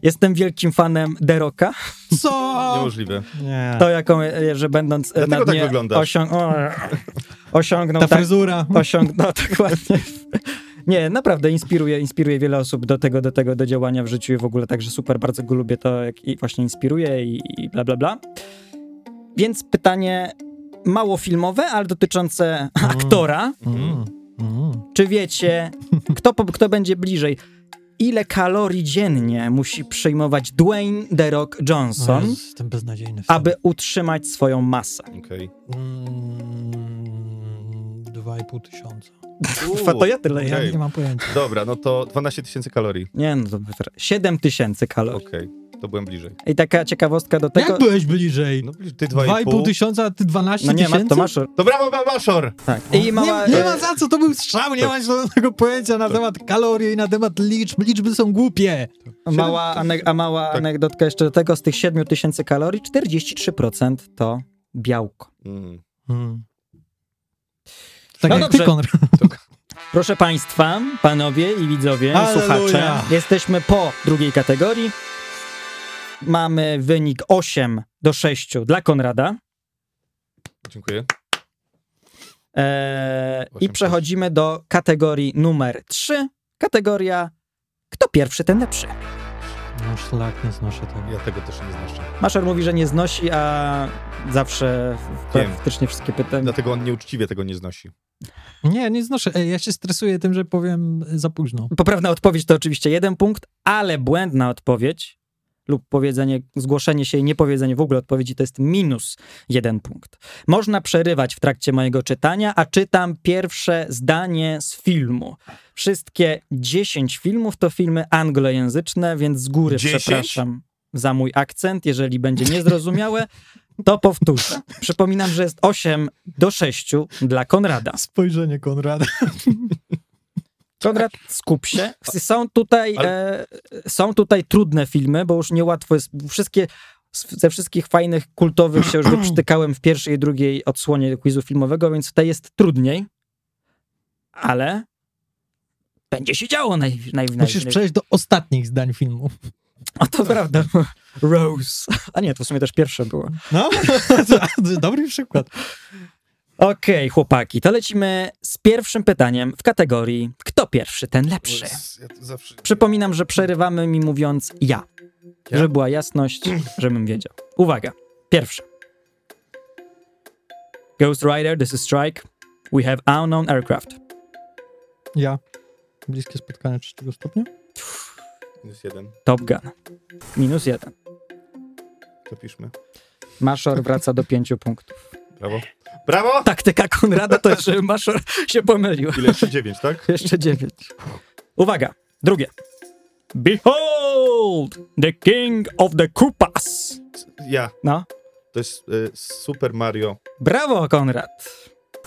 Jestem wielkim fanem Deroka. Co? Niemożliwe. [LAUGHS] Nie. To jaką, y, że będąc y, Dlatego na tak dnie wyglądasz. osią- o, osiągnął Ta tak, fryzura. osiągnął [LAUGHS] dokładnie. Nie, naprawdę inspiruje, inspiruje wiele osób do tego, do tego, do działania w życiu i w ogóle także super, bardzo go lubię to, jak i właśnie inspiruje i, i bla, bla, bla. Więc pytanie mało filmowe, ale dotyczące aktora. Mm, mm. Czy wiecie, kto, po- kto będzie bliżej? Ile kalorii dziennie musi przyjmować Dwayne The Rock No, Johnson, jest ten beznadziejny film. aby utrzymać swoją masę? Okej. Mm, Dwa i pół tysiąca. Ufa, to ja tyle No Ja Okej. nie mam pojęcia. Dobra, no to 12 tysięcy kalorii. Nie, no to 7 tysięcy kalorii. Okej, to byłem bliżej. I taka ciekawostka do tego... Jak byłeś bliżej? No bliżej, ty Dwa i pół 2,5. tysiąca, a ty 12 No nie, ma, tysięcy? to masz... To brawo, ba- Baszor! Tak. I mała... no. Nie, nie ma za co, to był strzał, nie ma żadnego pojęcia na temat kalorii, i na temat liczb, liczby są głupie. e, Mała, ane- a mała Tak. anegdotka jeszcze do tego, z tych 7 tysięcy kalorii 43% to białko. Mm. Hmm. Tak No jak dobrze. ty, Konrad. Proszę Państwa, panowie i widzowie, i Alleluja. słuchacze, jesteśmy po drugiej kategorii. Mamy wynik 8 do 6 dla Konrada. Dziękuję. Eee, I Osiem, przechodzimy do kategorii numer 3. Kategoria kto pierwszy, ten lepszy. No szlak, nie znoszę tego. Ja tego też nie znoszę. Maszer mówi, że nie znosi, a zawsze Wiem. No praktycznie wszystkie pytania. Dlatego on nieuczciwie tego nie znosi. Nie, nie znoszę. Ej, ja się stresuję tym, że powiem e, za późno. No. Poprawna odpowiedź to oczywiście jeden punkt, ale błędna odpowiedź lub powiedzenie, zgłoszenie się i niepowiedzenie w ogóle odpowiedzi to jest minus jeden punkt. Można przerywać w trakcie mojego czytania, a czytam pierwsze zdanie z filmu. Wszystkie 10 filmów to filmy anglojęzyczne, więc z góry 10? przepraszam za mój akcent. Jeżeli będzie niezrozumiałe, to powtórzę. Przypominam, że jest 8 do 6 dla Konrada. Spojrzenie Konrada. Konrad, Tak. skup się. Są tutaj, Ale- e, są tutaj trudne filmy, bo już niełatwo jest. Wszystkie, z- ze wszystkich fajnych, kultowych [CLEARS THROAT] się już wyprztykałem w pierwszej i drugiej odsłonie quizu filmowego, więc tutaj jest trudniej. Ale będzie się działo naj, naj, naj, Musisz naj, przejść do ostatnich zdań filmu. O, to prawda. [LAUGHS] Rose. A nie, to w sumie też pierwsze było. [LAUGHS] No, dobry przykład. Okej, chłopaki, to lecimy z pierwszym pytaniem w kategorii Kto pierwszy, ten lepszy. Ja to zawsze... Przypominam, że przerywamy mi mówiąc ja. Ja? Żeby była jasność, żebym wiedział. Uwaga. Pierwsza. Ghost Rider, this is strike. We have unknown aircraft. Ja. Bliskie spotkanie trzeciego stopnia? Minus jeden. Top Gun. Minus jeden. To piszmy. Maszor wraca do pięciu punktów. Brawo. Brawo! Taktyka Konrada to jest, żeby Maszor się pomylił. Ile? Jeszcze dziewięć, tak? Jeszcze dziewięć. Uwaga. Drugie. Behold the king of the Koopas. Ja. No. To jest y, Super Mario. Brawo, Konrad!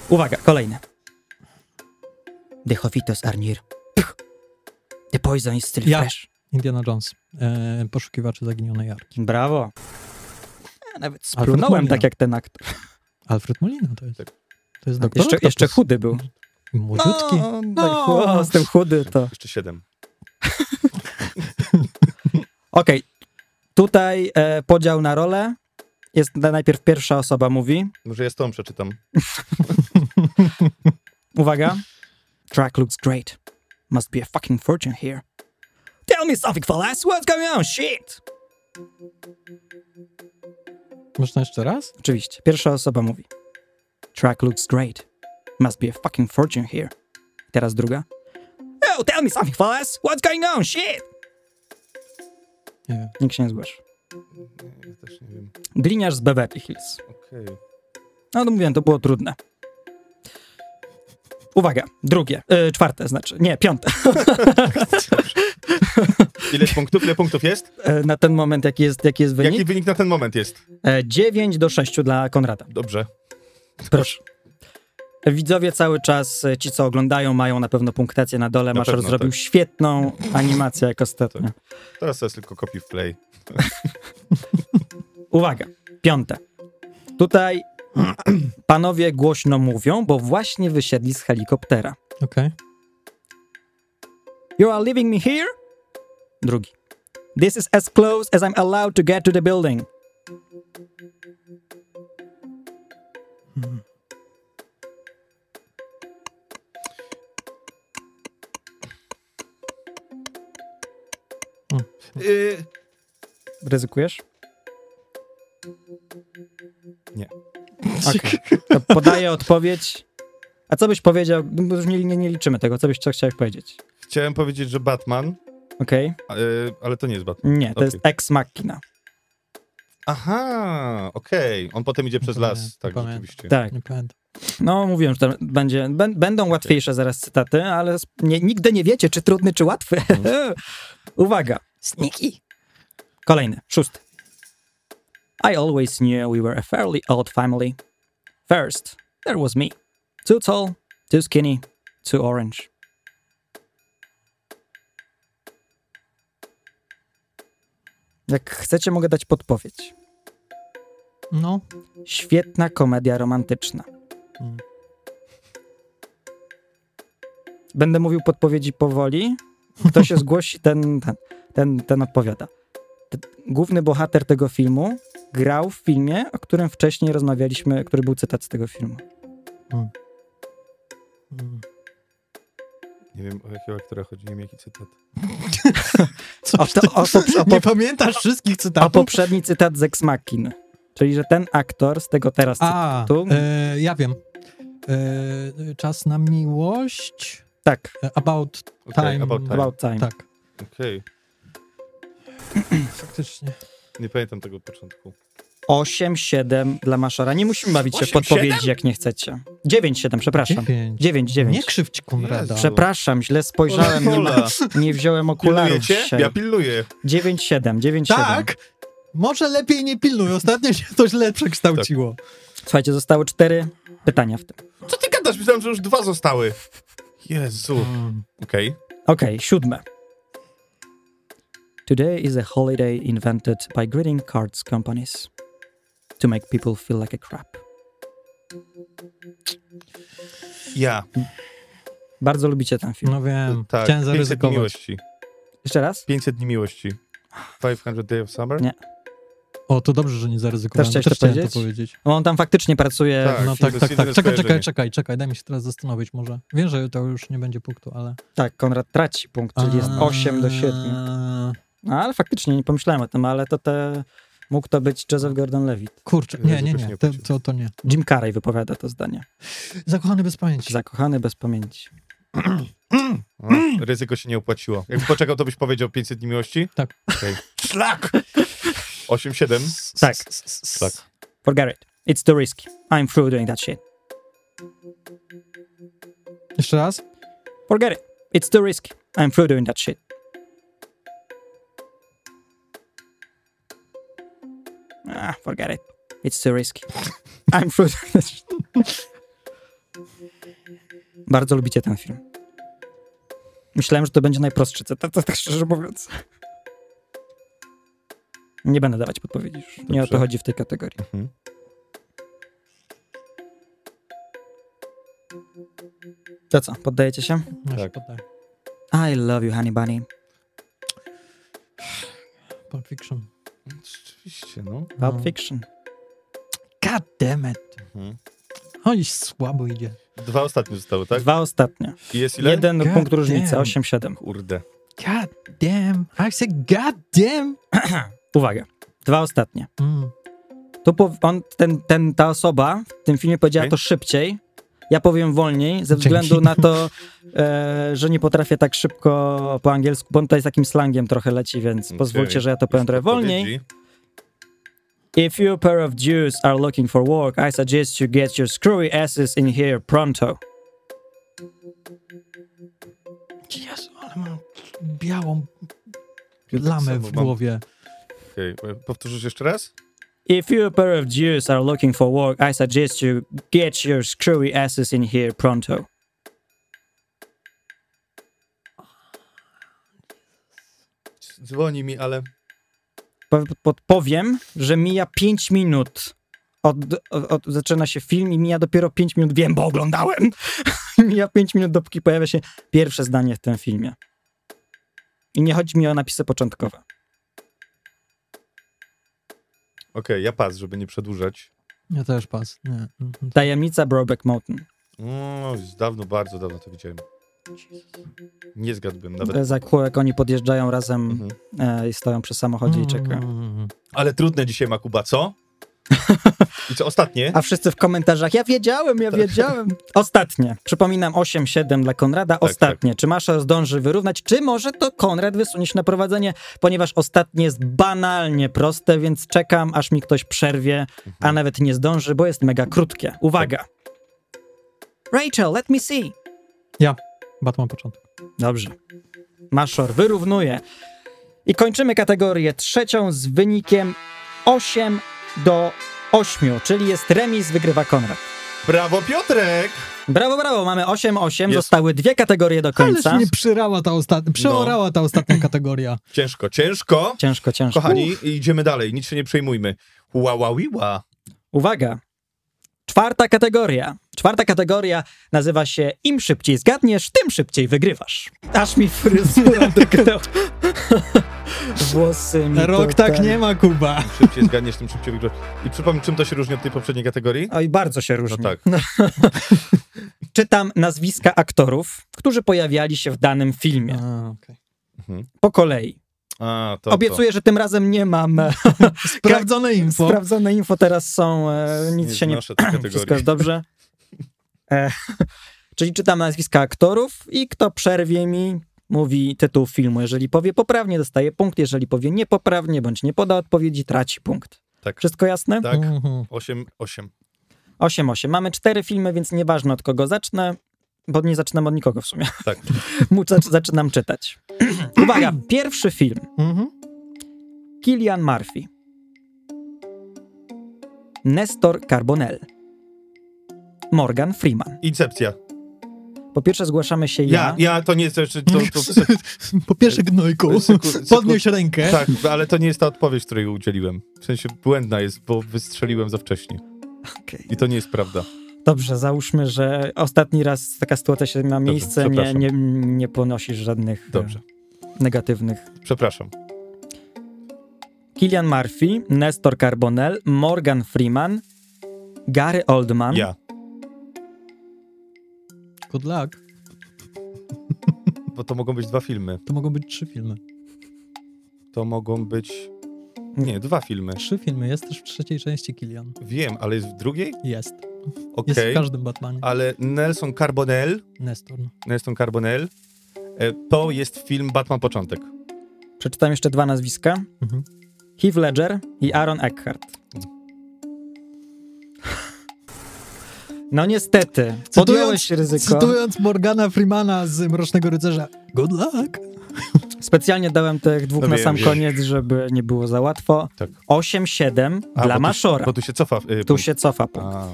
Uwaga, kolejne. The Jovitos are near. Pch. The poison is still Ja. fresh. Indiana Jones. E, poszukiwacze zaginionej jarki. Brawo. Ja nawet Alfred splunąłem Molina. tak jak ten aktor. Alfred Molina to jest. Tak. To jest doktor No, jeszcze, Oktopus. jeszcze chudy był. Młodziutki. No, tak, o, jestem chudy, to... Jeszcze siedem. Okej, tutaj e, podział na rolę. Jest najpierw pierwsza osoba mówi. Może ja z tą przeczytam. Uwaga. Track looks great. Must be a fucking fortune here. Tell me something, fellas. What's going on? Shit! Można jeszcze raz? Oczywiście. Pierwsza osoba mówi. Track looks great. Must be a fucking fortune here. Teraz druga. Oh, tell me something, fellas. What's going on? Shit! Nie wiem. Nikt się nie zgłasza. Ja też nie wiem. Gliniarz z Beverly Hills. Okej. No to mówiłem, to było trudne. Uwaga, drugie, e, czwarte znaczy, nie, piąte. Ile punktów? Ile punktów jest? E, na ten moment jaki jest, jaki jest Jaki wynik? wynik na ten moment jest? E, 9 do 6 dla Konrada. Dobrze. Proszę. Widzowie cały czas, e, ci co oglądają, mają na pewno punktację na dole. Na Maszer pewno, zrobił tak. świetną animację jak ostatnio. Teraz to jest tylko copy w play. Uwaga, piąte. Tutaj [CLEARS THROAT] panowie głośno mówią, bo właśnie wysiedli z helikoptera. Okej. You are leaving me here? Drugi. This is as close as I'm allowed to get to the building. Y, Ryzykujesz? Nie. Okej. To podaję odpowiedź. A co byś powiedział? No, bo Już nie, nie, nie liczymy tego. Co byś co chciałeś powiedzieć? chciałem powiedzieć, że Batman, Okej? y, ale to nie jest Batman. Nie, to Okej. jest ex machina. Aha, okej. On potem idzie przez Nie las, tak, pamiętam. rzeczywiście. Tak. Nie pamiętam. No, mówiłem, że tam będzie, bę- będą łatwiejsze zaraz cytaty, ale sp- nie, nigdy nie wiecie, czy trudny, czy łatwy. [LAUGHS] Uwaga. Sniki. Kolejny, szósty. I always knew we were a fairly odd family. First, there was me. Too tall, too skinny, too orange. Jak chcecie, mogę dać podpowiedź. No. Świetna komedia romantyczna. Mm. Będę mówił podpowiedzi powoli. Kto się zgłosi, ten, ten, ten, ten odpowiada. T- Główny bohater tego filmu grał w filmie, o którym wcześniej rozmawialiśmy, który był cytat z tego filmu. Mm. Nie wiem, o jakiego aktora chodzi, nie wiem, jaki cytat. O, to, o, po, o, [LAUGHS] Nie po, pamiętasz wszystkich o cytatów? poprzedni cytat z Ex Machina. Czyli, że ten aktor z tego teraz cytatu. A, e, ja wiem. E, czas na miłość. Tak, E, About Okej, time. about time. About Time. Tak, Okej, faktycznie. nie pamiętam tego początku. 8-7 dla Maszora. Nie musimy bawić się w 8-7? podpowiedzi, jak nie chcecie. 9-7, przepraszam. Dziewięć. 9-9. Nie krzywdź Konrada. Jezu. Przepraszam, źle spojrzałem, nie, ma- Ola, nie wziąłem okularów Pilnujecie? Ja dzisiaj. pilnuję. 9-7, 9-7. Tak! Może lepiej nie pilnuj, ostatnio się to Tak. źle przekształciło. Słuchajcie, zostały cztery pytania w tym. Co ty gadasz? Myślałem, że już dwa zostały. Jezu. Mm. Okej. Okej, siódme. Today is a holiday invented by greeting cards companies to make people feel like a crap. Ja. Bardzo lubicie ten film. No wiem, Tak. chciałem 500 dni zaryzykować. miłości. Jeszcze raz? 500 dni miłości. 500 Day of Summer? Nie. O, to dobrze, że nie Też zaryzykowałem, też, chciałeś też to chciałem to powiedzieć? powiedzieć. Bo No, On tam faktycznie pracuje. Tak. No to tak, jest tak, tak. jedyne Czekaj, czekaj, skojarzenie. czekaj, czekaj, daj mi się teraz zastanowić może. Wiem, że to już nie będzie punktu, ale... tak, Konrad traci punkt, czyli jest 8 do 7. Eee, No, ale faktycznie nie pomyślałem o tym, ale to te... Mógł to być Joseph Gordon-Levitt. Kurczę, nie, nie, Ryzyko się nie, nie to, to, opłaciło. to nie. Jim Carrey wypowiada to zdanie. Zakochany bez pamięci. Zakochany bez pamięci. O, ryzyko się nie opłaciło. Jakby poczekał, to byś powiedział 500 dni miłości? Tak. Okay. Szlak! 8-7. Tak. Tak. Forget it. It's too risky. I'm through doing that shit. Jeszcze raz? Forget it. It's too risky. I'm through doing that shit. Ah, forget it. It's too [LAUGHS] risky. I'm through doing that shit. Bardzo lubicie ten film. Myślałem, że to będzie najprostszy cytat, tak szczerze mówiąc. Nie będę dawać podpowiedzi już. Nie o to Dobrze. chodzi w tej kategorii. Mhm. To co, poddajecie się? Ja się Tak. poddaję. I love you, honey bunny. Pulp Fiction. Rzeczywiście, no. Pulp No. Fiction. God damn it. Mhm. Oj, słabo idzie. Dwa ostatnie zostały, tak? Dwa ostatnie. I jest ile? Jeden God punkt różnicy, damn. 8-7. Kurde. God damn. I say god damn. Uwaga, dwa ostatnie. Mm. Tu pow- on, ten, ten, ta osoba w tym filmie powiedziała Okej. to szybciej. Ja powiem wolniej, ze Dzięki. względu na to, e, że nie potrafię tak szybko po angielsku, bo on tutaj z takim slangiem trochę leci, więc Okej. pozwólcie, że ja to powiem trochę wolniej. Odpowiedzi. If you pair of Jews are looking for work, I suggest you get your screwy asses in here pronto. Jezu, ale mam białą Ja tak lamę samo w mam. głowie. Okej, e, Powtórzysz jeszcze raz? If you pair of Jews are looking for work, I suggest you get your screwy asses in here pronto. Dzwoni mi, ale... Po- podpowiem, że mija 5 minut. Od, od, od, zaczyna się film i mija dopiero 5 minut. Wiem, bo oglądałem. [LAUGHS] mija 5 minut, dopóki pojawia się pierwsze zdanie w tym filmie. I nie chodzi mi o napisy początkowe. Okej, ja pas, żeby nie przedłużać. Ja też pas. Nie. Mhm. Tajemnica Brobeck Mountain. Mm, No, już dawno, bardzo dawno to widziałem. Nie zgadłbym nawet. E, Za kółek oni podjeżdżają razem Mhm. e, i stoją przy samochodzie i czekają. Mhm. Ale trudne dzisiaj ma [LAUGHS] Kuba, co? I co ostatnie? A wszyscy w komentarzach, ja wiedziałem, ja Tak. wiedziałem. Ostatnie. Przypominam, 8-7 dla Konrada. tak. Ostatnie. Czy Masza zdąży wyrównać, czy może to Konrad wysunie się na prowadzenie, ponieważ ostatnie jest banalnie proste, więc czekam, aż mi ktoś przerwie, Mhm. a nawet nie zdąży, bo jest mega krótkie. Uwaga. Tak. Rachel, let me see. Batman początek. Dobrze. Maszor wyrównuje. I kończymy kategorię trzecią z wynikiem 8 do 8, czyli jest remis, wygrywa Konrad. Brawo Piotrek! Brawo, brawo, mamy 8-8, Jest. zostały dwie kategorie do Ależ końca. mnie przyrała ta No. ostatnia, przeorała ta [LAUGHS] ostatnia kategoria. Ciężko, ciężko. Ciężko, ciężko. Kochani, idziemy dalej, nic się nie przejmujmy. Ła, ła, wi, ła. Uwaga! Czwarta kategoria. Czwarta kategoria nazywa się im szybciej zgadniesz, tym szybciej wygrywasz. Aż mi [LAUGHS] fryzura drgnęła. Włosy No mi Rok tak nie ma, Kuba. Im szybciej zgadniesz, tym szybciej wygrasz. I przypomnij, czym to się różni od tej poprzedniej kategorii? Oj, bardzo się różni. No tak. Czytam nazwiska aktorów, którzy pojawiali się w danym filmie. A, okay. Po kolei. A, to, Obiecuję, że tym razem nie mam. [LAUGHS] e, Sprawdzone info. Sprawdzone info teraz są. E, to. nic się nie [CLEARS THROAT] znoszę tej kategorii. Wszystko jest dobrze. [LAUGHS] E, czyli czytam nazwiska aktorów i kto przerwie mi, mówi tytuł filmu. Jeżeli powie poprawnie, dostaje punkt. Jeżeli powie niepoprawnie bądź nie poda odpowiedzi, traci punkt. Tak, Wszystko jasne? tak. Mhm. 8, 8. 8-8. Mamy cztery filmy, więc nieważne od kogo zacznę, bo nie zaczynam od nikogo w sumie. Tak. [LAUGHS] Mu- zac- Zaczynam czytać. [CLEARS THROAT] Uwaga, pierwszy film. Mhm. Kilian Murphy. Nestor Carbonell. Morgan Freeman. Incepcja. Po pierwsze zgłaszamy się ja. Ja, ja to nie jest... To, to, to, [LAUGHS] Po pierwsze, gnojku, Seku- [LAUGHS] seku- podnieś rękę. tak, ale to nie jest ta odpowiedź, której udzieliłem. W sensie błędna jest, bo wystrzeliłem za wcześnie. Okej. I to nie jest prawda. Dobrze, załóżmy, że ostatni raz taka sytuacja się ma miejsce, nie, przepraszam. nie, nie ponosisz żadnych e, Dobrze. negatywnych. Przepraszam. Kilian Murphy, Nestor Carbonell, Morgan Freeman, Gary Oldman, Ja. Good luck. Bo to mogą być dwa filmy. To mogą być trzy filmy. To mogą być. Nie, dwa filmy. Trzy filmy. Jest też w trzeciej części Kilian. Wiem, ale jest w drugiej? Jest. Jest Okej. w każdym Batmanie. Ale Nelson Carbonell, Nestor. Nelson Carbonell, e, to jest film Batman Początek. przeczytam jeszcze dwa nazwiska, Mhm. Heath Ledger i Aaron Eckhart. No niestety, podjąłeś ryzyko. cytując Morgana Freemana z Mrocznego Rycerza. Good luck. Specjalnie dałem tych dwóch No na wiem, sam wiem. koniec, żeby nie było za łatwo. Tak. 8-7 A, bo dla tu- Maszora. Bo tu się cofa. e, Tu punkt. się cofa punkt. A.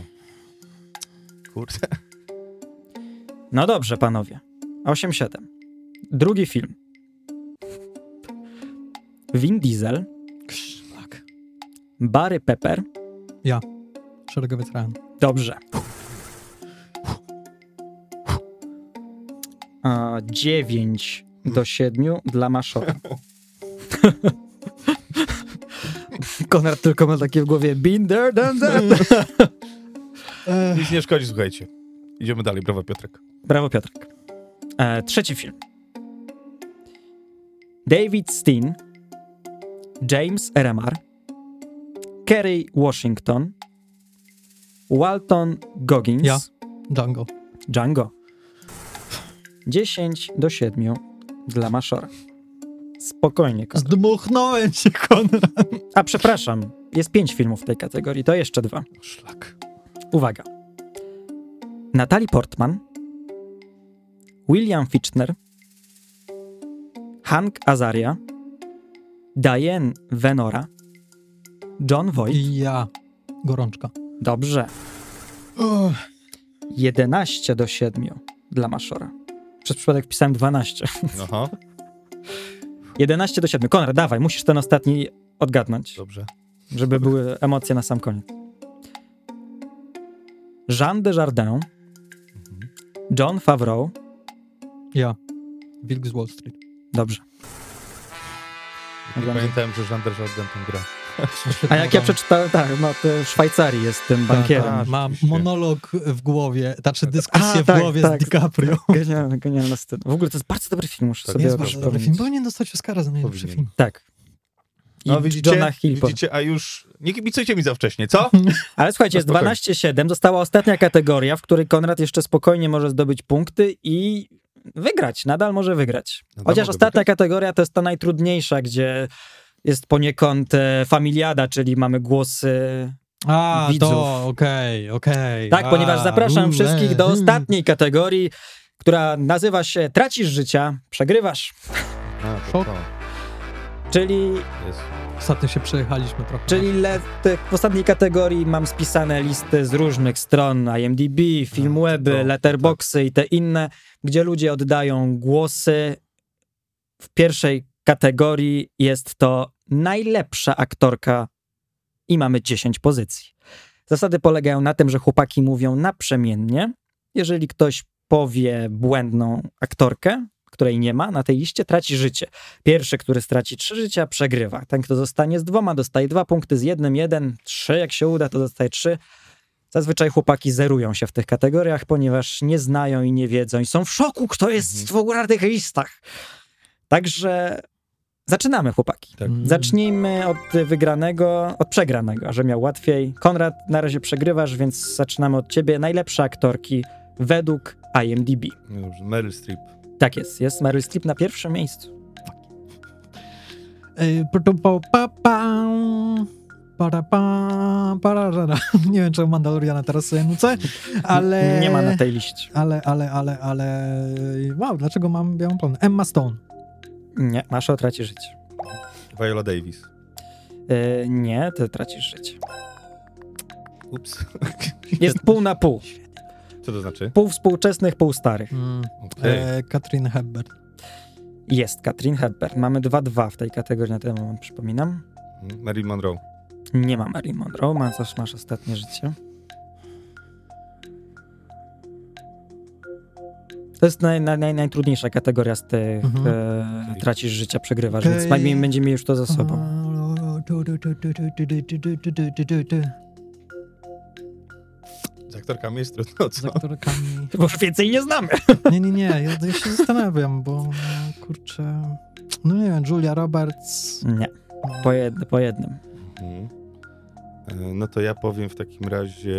Kurde. No dobrze, panowie. 8-7. Drugi film. Vin Diesel, Szlak. Barry Pepper. Szeregowy tran. Dobrze. A, 9 do 7 dla Maszora. [LAUGHS] Konrad tylko ma takie w głowie Binder, dun, dun. [LAUGHS] Nic nie szkodzi, słuchajcie. Idziemy dalej, brawo Piotrek. Brawo, Piotrek. E, trzeci film. David Steen, James Remar, Kerry Washington, Walton Goggins, Ja. Django. Django. 10 do 7 dla Maszora. Spokojnie, Konrad. Zdmuchnąłem się, Konrad. A przepraszam, jest 5 filmów w tej kategorii, to jeszcze dwa. Szlak. Uwaga. Natalie Portman, William Fichtner, Hank Azaria, Diane Venora, John Voight. I ja. Gorączka. Dobrze. 11 do 7 dla Maszora. Przez przypadek pisałem 12. Aha, 11 do 7. Konrad, dawaj, musisz ten ostatni odgadnąć, dobrze. żeby były emocje na sam koniec. Jean Desjardins, John Favreau, Ja. Wilk z Wall Street. Dobrze. Nie Oglądam. pamiętałem, że Żander Żarden tam gra. A jak ja przeczytałem, tak, ma, to w Szwajcarii jest tym bankierem. tak. Mam Oczywiście. monolog w głowie, znaczy dyskusję A, w tak, głowie tak. z DiCaprio. Genialna, genialna scena. W ogóle to jest bardzo dobry film, muszę Tak, To sobie jest bardzo dobry film. przypomnieć. Powinien dostać Oscara za najlepszy Powinien. film. Tak. I No widzicie, Johna Hill. po- widzicie, a już nie kibicujcie mi za [LAUGHS] wcześnie, co? Ale słuchajcie, jest No spokojnie. 12-7, została ostatnia kategoria, w której Konrad jeszcze spokojnie może zdobyć punkty i wygrać, nadal może wygrać. Nadal Chociaż mogę ostatnia wygrać. kategoria to jest ta najtrudniejsza, gdzie jest poniekąd e, familiada, czyli mamy głosy. A, widzów. to, okej, okej. Tak, A, ponieważ zapraszam ule, wszystkich do mm. ostatniej kategorii, która nazywa się Tracisz życia, przegrywasz. A, to Szok. to Czyli, jest. Ostatnio się przejechaliśmy trochę. czyli le, te, w ostatniej kategorii mam spisane listy z różnych stron, IMDb, to to, Filmweby, tak. Letterboxy i te inne, gdzie ludzie oddają głosy. W pierwszej kategorii jest to najlepsza aktorka i mamy 10 pozycji. Zasady polegają na tym, że chłopaki mówią naprzemiennie. Jeżeli ktoś powie błędną aktorkę, której nie ma na tej liście, traci życie. Pierwszy, który straci trzy życia, przegrywa. Ten, kto zostanie z dwoma, dostaje dwa punkty, z jednym jeden, trzy, jak się uda, to dostaje trzy. Zazwyczaj chłopaki zerują się w tych kategoriach, ponieważ nie znają i nie wiedzą i są w szoku, kto jest Mhm. w ogóle na tych listach. Także zaczynamy, chłopaki. Tak. Mm. Zacznijmy od wygranego, od przegranego, a że miał łatwiej. Konrad, na razie przegrywasz, więc zaczynamy od ciebie. Najlepsze aktorki według IMDb. No Dobrze, Meryl Streep. Tak jest, jest Meryl Streep na pierwszym miejscu. Y, pu- tu- pu- pa- pa- para- pa- para- rara. [LAUGHS] Nie wiem, czemu Mandaloriana teraz sobie nucę, ale... Nie ma na tej liście. Ale, ale, ale, ale... Wow, dlaczego mam białą plonę? Emma Stone. Nie, masz o traci życie. Viola Davis. Yy, nie, ty tracisz życie. Ups. [LAUGHS] Jest pół na pół. Co to znaczy? Pół współczesnych, pół starych. Okej. E, Katrin Hebert. Jest Katrin Hepburn. Mamy 2-2 w tej kategorii na ten moment, przypominam. Marilyn Monroe. Nie ma Marilyn Monroe, ma, masz ostatnie życie. To jest naj, naj, naj, najtrudniejsza kategoria z tych Mhm. e, tracisz życia, przegrywasz, więc Okej. najmniej będziemy już to za sobą. A, tu, tu, tu, tu, tu, tu, tu, tu, tu, tu, tu, tu. Z aktorkami jest trudno, Z co? Tak. aktorkami... Bo już więcej nie znamy. [LAUGHS] Nie, nie, nie, ja, ja się zastanawiam, bo no, kurczę... No nie wiem, Julia Roberts... no, Nie, po, jed, po jednym. Mhm. E, No to ja powiem w takim razie...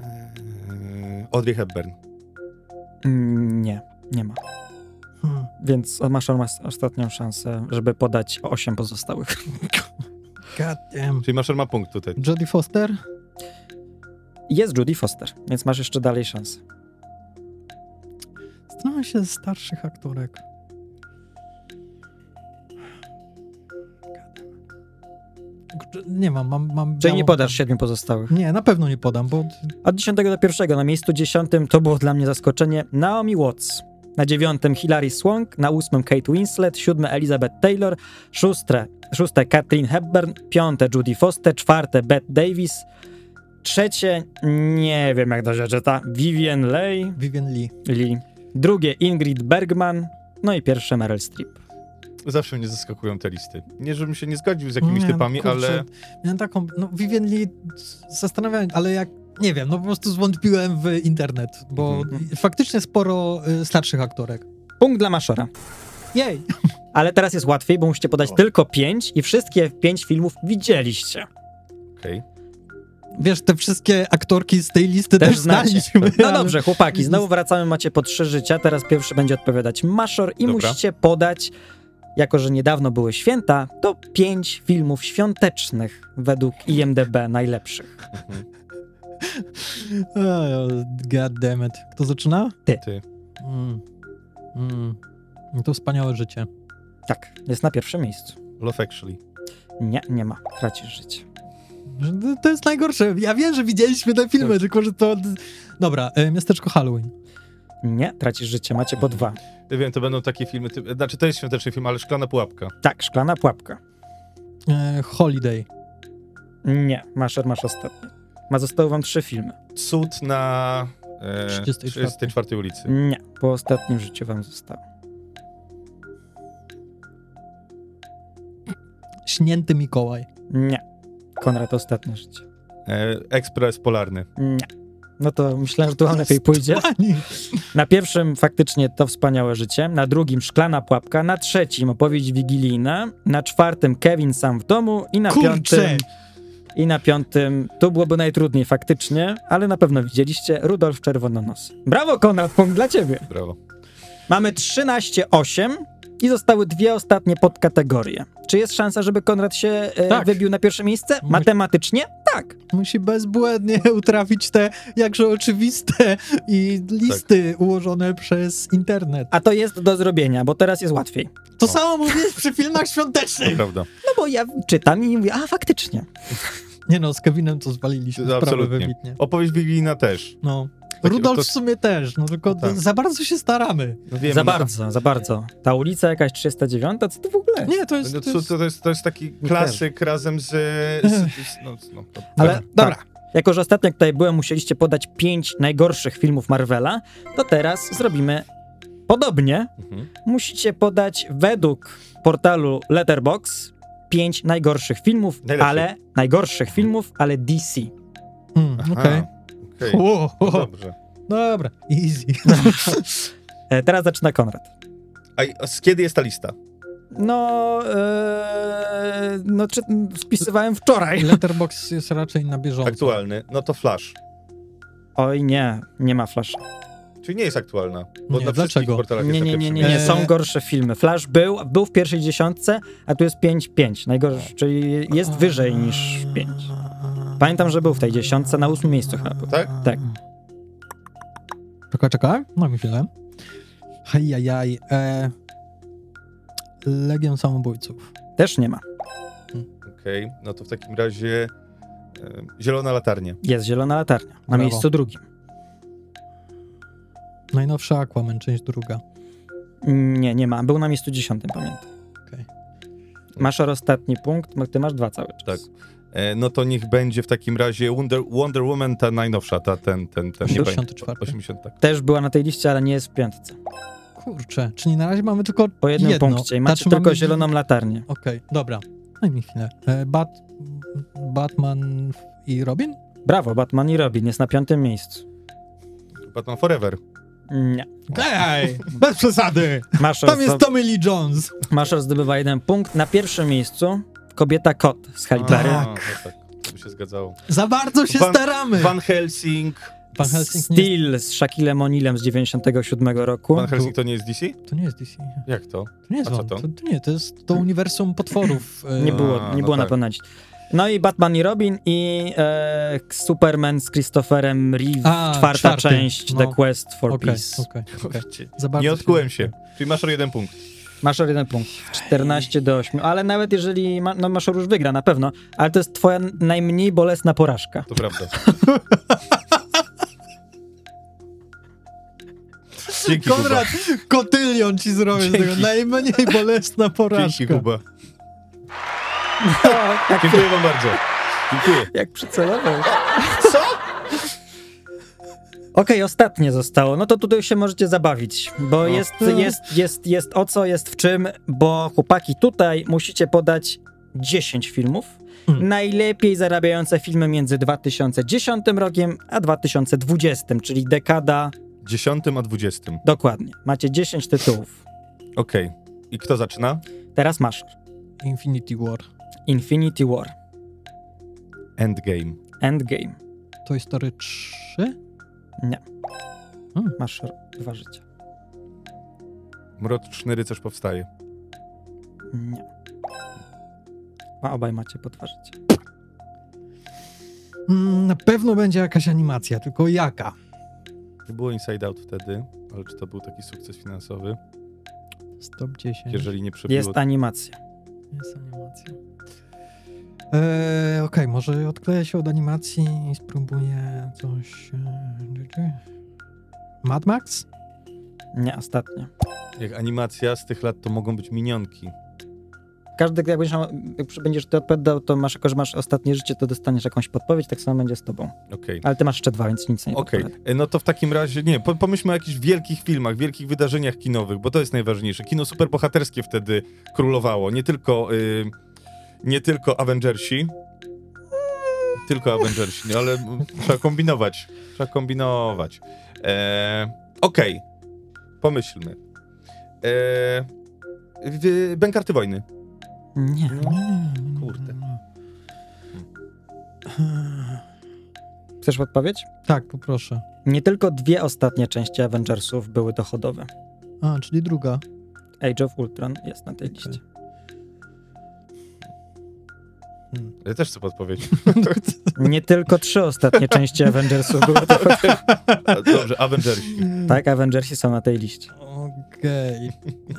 E, Audrey Hepburn. Mm, Nie, nie ma. Hmm. Więc masz mas- ostatnią szansę, żeby podać 8 pozostałych. God damn. Czyli Maszer ma punkt tutaj. Jodie Foster? Jest Judy Foster, więc masz jeszcze dalej szansę. Zastanawiam się ze starszych aktorek. Kurczę, Nie mam, mam... mam Czyli nie białą- podasz 7 pozostałych. Nie, na pewno nie podam, bo Od 10 do 1 na miejscu 10 to było dla mnie zaskoczenie Naomi Watts. Na dziewiątym Hilary Swank, na ósmym Kate Winslet, siódme Elizabeth Taylor, szóste, szóste Katrin Hepburn, piąte Judy Foster, czwarte Bette Davis, trzecie, nie wiem jak to się czyta, Vivien Leigh, Vivian Lee. Lee, drugie Ingrid Bergman, no i pierwsze Meryl Streep. Zawsze mnie zaskakują te listy. Nie, żebym się nie zgodził z jakimiś Nie, no typami, kurczę, ale... Miałem taką, no Vivian Lee, zastanawiałem, ale jak, nie wiem, no po prostu zwątpiłem w internet, bo Mhm. faktycznie sporo y, starszych aktorek. Punkt dla Maszora. Jej! Ale teraz jest łatwiej, bo musicie podać O. tylko pięć i wszystkie pięć filmów widzieliście. Okej. Wiesz, te wszystkie aktorki z tej listy Też też, znacie. znaliśmy. No ale- dobrze, chłopaki, znowu wracamy, macie po trzy życia. Teraz pierwszy będzie odpowiadać Maszor i Dobra. musicie podać, jako że niedawno były święta, to pięć filmów świątecznych według IMDB najlepszych. Mhm. O, E, God damn it. Kto zaczyna? Ty. Ty. Mm. Mm. To wspaniałe życie. Tak, jest na pierwszym miejscu. Love Actually. Nie, nie ma, tracisz życie. Że To jest najgorsze. Ja wiem, że widzieliśmy te filmy, tylko że to... Dobra, y, Miasteczko Halloween. Nie, tracisz życie, macie po dwa. Ja wiem, to będą takie filmy, typ... znaczy to jest świąteczny film, ale Szklana Pułapka. Tak, szklana pułapka. E, Holiday. Nie, Maszor masz ostatni. Ma zostały wam trzy filmy. Cud na e, 34. 34 ulicy. Nie, po ostatnim życiu wam zostało. Śnięty Mikołaj. Nie. Konrad, ostatnie życie. E, ekspres polarny. Nie. No to myślałem, że tu wam lepiej pójdzie. Pani! Na pierwszym faktycznie to wspaniałe życie, na drugim szklana pułapka, na trzecim opowieść wigilijna, na czwartym Kevin sam w domu i na Kurczę! piątym i na piątym to byłoby najtrudniej faktycznie, ale na pewno widzieliście Rudolf Czerwononos. Brawo Konrad, punkt dla ciebie. Brawo. Mamy 13-8 i zostały dwie ostatnie podkategorie. Czy jest szansa, żeby Konrad się e, Tak. wybił na pierwsze miejsce? Matematycznie? Tak. Musi bezbłędnie [LAUGHS] utrafić te jakże oczywiste i listy Tak. ułożone przez internet. A to jest do zrobienia, bo teraz jest łatwiej. No. To samo mówisz przy filmach świątecznych! Prawda. No bo ja czytam i mówię, a faktycznie. Nie no, z Kevinem to zwaliliśmy sprawę Absolutnie. wybitnie. Opowieść biblijna też. No. Takie- Rudolf to- w sumie też, no tylko Tak. za bardzo się staramy. No wiem, za no- bardzo, za bardzo. Ta ulica jakaś 309, co to w ogóle? Nie, to jest... No, To to, jest... to, jest, to jest taki klasyk razem z... z, z no, no, to, Ale Dobra. tak, jako że ostatnio jak tutaj byłem, musieliście podać pięć najgorszych filmów Marvela, to teraz zrobimy podobnie. Mhm. Musicie podać według portalu Letterbox pięć najgorszych filmów, Najlepszych. ale najgorszych filmów, ale DC. Mm, Aha, Okej. okej. Ło, No ło, Dobrze. Dobra, easy. E, teraz zaczyna Konrad. A i- a z kiedy jest ta lista? No, e, no czy, spisywałem [LAUGHS] wczoraj. Letterbox jest raczej na bieżąco. Aktualny. No to Flash. Oj nie, nie ma Flasha. Czyli nie jest aktualna. Bo Nie, na wszystkich dlaczego? portalach Nie, jest tak na nie, nie, pierwszym nie, nie, miejscu. są gorsze filmy. Flash był, był w pierwszej dziesiątce, a tu jest 5-5, najgorszy, czyli jest wyżej niż 5. Pamiętam, że był w tej dziesiątce, na ósmym miejscu chyba był. Tak? Tak. Czekaj, czekaj, mam chwilę. Hajajaj. E... Legion Samobójców. Też nie ma. Okej, no to w takim razie e, Zielona Latarnia. Jest Zielona Latarnia, na Brawo. miejscu drugim. Najnowsza Aquaman, część druga. Nie, nie ma, był na miejscu dziesiątym, pamiętam. Okej. Masz ostatni punkt, no ty masz dwa cały czas. Tak. E, no to niech będzie w takim razie Wonder, Wonder Woman, ta najnowsza, ta, ten, ten, ten, nie pamiętam. 84. 80, tak. Też była na tej liście, ale nie jest w piątce. Kurczę, czyli na razie mamy tylko Po jednym jedno. punkcie i macie Znaczy, tylko mamy- Zieloną Latarnię. Okej, dobra. Daj mi chwilę. E, Bat... Batman i Robin? Brawo, Batman i Robin jest na piątym miejscu. Batman Forever. Nie. Ej, [LAUGHS] bez przesady! Masz Tam roz- jest Tommy Lee Jones! Masza zdobywa jeden punkt. Na pierwszym miejscu kobieta kot z Halle Berry. A, no tak. To by się zgadzało. Za bardzo się Van- staramy! Van Helsing. Van Helsing nie, Steel z Shaquillem O'Nealem z 97 roku. Van Helsing to nie jest DC? to nie jest DC. Jak To to? nie jest A co Van, to? to? To, nie, to jest to uniwersum [LAUGHS] potworów. e, Nie było, A, nie no było na tak. pewno. dziś. No i Batman i Robin i e, Superman z Christopherem Reeve, A, czwarta czwarty, część no. The Quest for Okej, Peace. okej. Ci- Za bardzo [LAUGHS] Nie odkułem się- się. Czyli masz o jeden punkt. Masz o jeden punkt. 14 do 8. Ale nawet jeżeli ma, no Maszor już wygra na pewno, ale to jest twoja najmniej bolesna porażka. To [LAUGHS] prawda. Dzięki, Konrad, kotylion ci zrobię z tego. Dzięki. [LAUGHS] Najmniej bolesna Kuba. porażka. Dzięki, Kuba. Dziękuję wam bardzo. Dziękuję. Jak przycelował. Co? Okej, ostatnie zostało. No to tutaj się możecie zabawić, bo jest, jest, jest, jest o co, jest w czym, bo chłopaki tutaj musicie podać 10 filmów. Mm. Najlepiej zarabiające filmy między 2010 rokiem a 2020, czyli dekada Dziesiątym a dwudziestym. dokładnie. Macie 10 tytułów. Okej. I kto zaczyna? Teraz masz Infinity War, Infinity War, Endgame. Endgame. Toy Story 3, Masz dwa życia. Mroczny rycerz powstaje. Nie. A obaj macie po dwa życia. Mm, na pewno będzie jakaś animacja, tylko jaka? Nie było Inside Out wtedy, ale czy to był taki sukces finansowy? Stop 10. Jeżeli nie przebiło... Jest tak. animacja. Jest animacja. Eee, Okej, może odkleję się od animacji i spróbuję coś... e, Mad Max? Nie, ostatnia. Jak animacja z tych lat, to mogą być minionki. Każdy, jak będziesz, miał- jak będziesz ty odpowiadał, to masz, jako że masz ostatnie życie, to dostaniesz jakąś podpowiedź, tak samo będzie z tobą. Okej. Ale ty masz jeszcze dwa, więc nic nie Okej, odpowiada. e, no to w takim razie, nie, po- pomyślmy o jakichś wielkich filmach, wielkich wydarzeniach kinowych, bo to jest najważniejsze. Kino superbohaterskie wtedy królowało, nie tylko y, nie tylko Avengersi. Tylko Avengersi, no ale m, trzeba kombinować. Trzeba kombinować. E, Okej, pomyślmy. E, w- Bękarty wojny. Nie. No. Kurde. Chcesz odpowiedź? Hmm. Tak, poproszę. Nie tylko dwie ostatnie części Avengersów były dochodowe. A, czyli druga. Age of Ultron jest na tej liście. Ja też chcę podpowiedzieć. Nie tylko trzy ostatnie [LAUGHS] części Avengersów były dochodowe. Dobrze, Avengersi. Tak, Avengersi są na tej liście. [LAUGHS] Okej.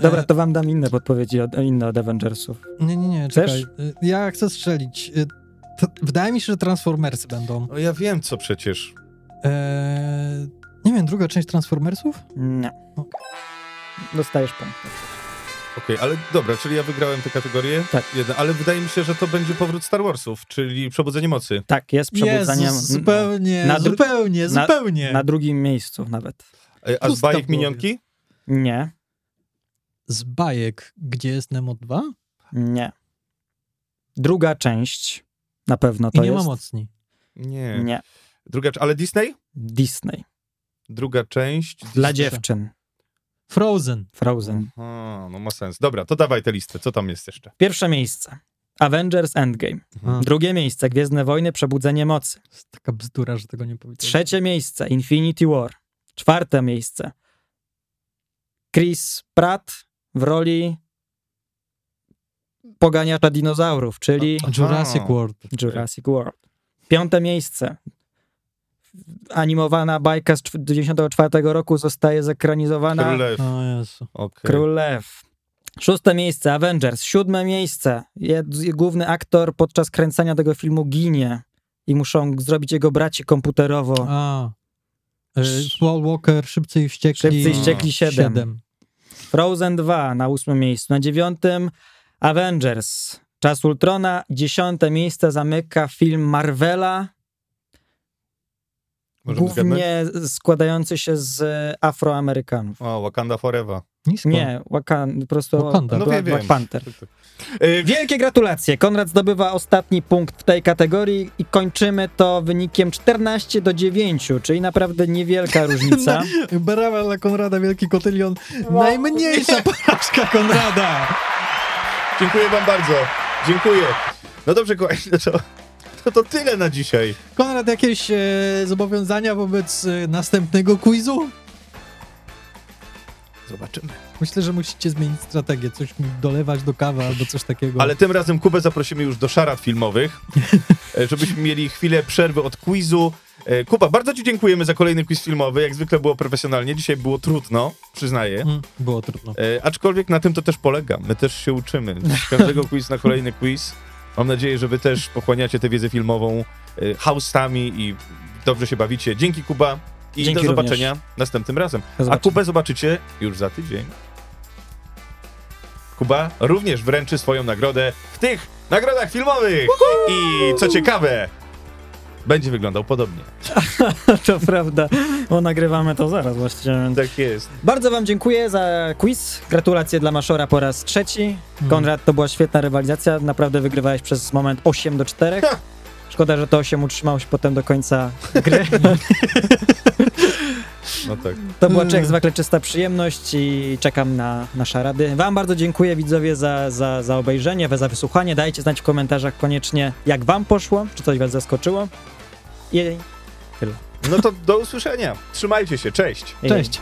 Dobra, to wam dam inne podpowiedzi, od, inne od Avengersów. E, Nie, nie, nie, Chcesz? czekaj. Y, Ja chcę strzelić. Y, t- Wydaje mi się, że Transformersy będą. No ja wiem co przecież. Eee, nie wiem, druga część Transformersów? Nie. Okej. Dostajesz punkt. Okej, ale dobra, czyli ja wygrałem tę kategorię. Tak. Jeden, ale wydaje mi się, że to będzie powrót Star Warsów, czyli przebudzenie mocy. Tak, jest przebudzeniem. Jezus, zupełnie, Na dru- zupełnie, na- zupełnie. Na drugim miejscu nawet. E, A z Pusta w bajek głowie. minionki? Nie, Z bajek, gdzie jest Nemo 2? nie. Druga część na pewno I to nie ma jest. mocni. Nie. Nie, Druga, ale Disney? Disney. Druga część. Dla Słyszę. dziewczyn. Frozen. Frozen. Mhm. Aha, no ma sens. Dobra, to dawaj tę listę. Co tam jest jeszcze? Pierwsze miejsce. Avengers Endgame. A, Drugie miejsce. Gwiezdne Wojny. Przebudzenie Mocy. to jest taka bzdura, że tego nie powiedziałem. Trzecie miejsce. Infinity War. Czwarte miejsce. Chris Pratt w roli poganiacza dinozaurów, czyli Jurassic Aha. World. Jurassic World. Piąte miejsce. Animowana bajka z 1994 roku zostaje zekranizowana. Król Lew. O Jezu. Okej. Król Lew. Szóste miejsce Avengers. Siódme miejsce. Jed- Główny aktor podczas kręcenia tego filmu ginie i muszą zrobić jego braci komputerowo. A. Y, Paul Walker, Szybcy i Wściekli. No. Szybcy i Wściekli Wściekli 7. Frozen 2 na ósmym miejscu. Na dziewiątym Avengers. Czas Ultrona. Dziesiąte miejsce zamyka film Marvela. Możemy zgadnąć? głównie składający się z Afroamerykanów. O, Wakanda Forever. Nisko. Nie, Wakan, po prostu Wakanda. Black, No wiem, E, Black wiem. Panther. Y, Wielkie gratulacje! Konrad zdobywa ostatni punkt w tej kategorii i kończymy to wynikiem 14 do 9, czyli naprawdę [LAUGHS] niewielka No różnica. Brawa dla Konrada, wielki kotylion. No. [LAUGHS] Najmniejsza porażka Konrada. Dziękuję wam bardzo. Dziękuję. No dobrze, kochani, no to, to, to tyle na dzisiaj. Konrad, jakieś e, zobowiązania wobec e, następnego quizu? Zobaczymy. Myślę, że musicie zmienić strategię, coś mi dolewać do kawy albo coś takiego. Ale tym razem Kubę zaprosimy już do szarat filmowych, e, żebyśmy mieli chwilę przerwy od quizu. E, Kuba, bardzo ci dziękujemy za kolejny quiz filmowy. Jak zwykle było profesjonalnie, dzisiaj było trudno, przyznaję. Mm, Było trudno. E, aczkolwiek na tym to też polega. My też się uczymy. Z [LAUGHS] każdego quiz na kolejny quiz. Mam nadzieję, że wy też pochłaniacie tę wiedzę filmową e, haustami i dobrze się bawicie. Dzięki Kuba i Dzięki do również. zobaczenia następnym razem. Do A zobaczenia. Kubę zobaczycie już za tydzień. Kuba również wręczy swoją nagrodę w tych nagrodach filmowych. I co ciekawe, będzie wyglądał podobnie. [LAUGHS] to prawda, bo nagrywamy to zaraz właściwie. Tak jest. Bardzo wam dziękuję za quiz. Gratulacje dla Maszora po raz trzeci. Mm. Konrad, to była świetna rywalizacja. Naprawdę wygrywałeś przez moment 8 do 4. Ha. Szkoda, że to 8 utrzymało się potem do końca gry. No tak. To była czy- jak zwykle czysta przyjemność i czekam na, na szarady. Wam bardzo dziękuję widzowie za, za, za obejrzenie, za wysłuchanie. Dajcie znać w komentarzach koniecznie jak wam poszło, czy coś was zaskoczyło. I, No to do usłyszenia. Trzymajcie się. Cześć. i Cześć.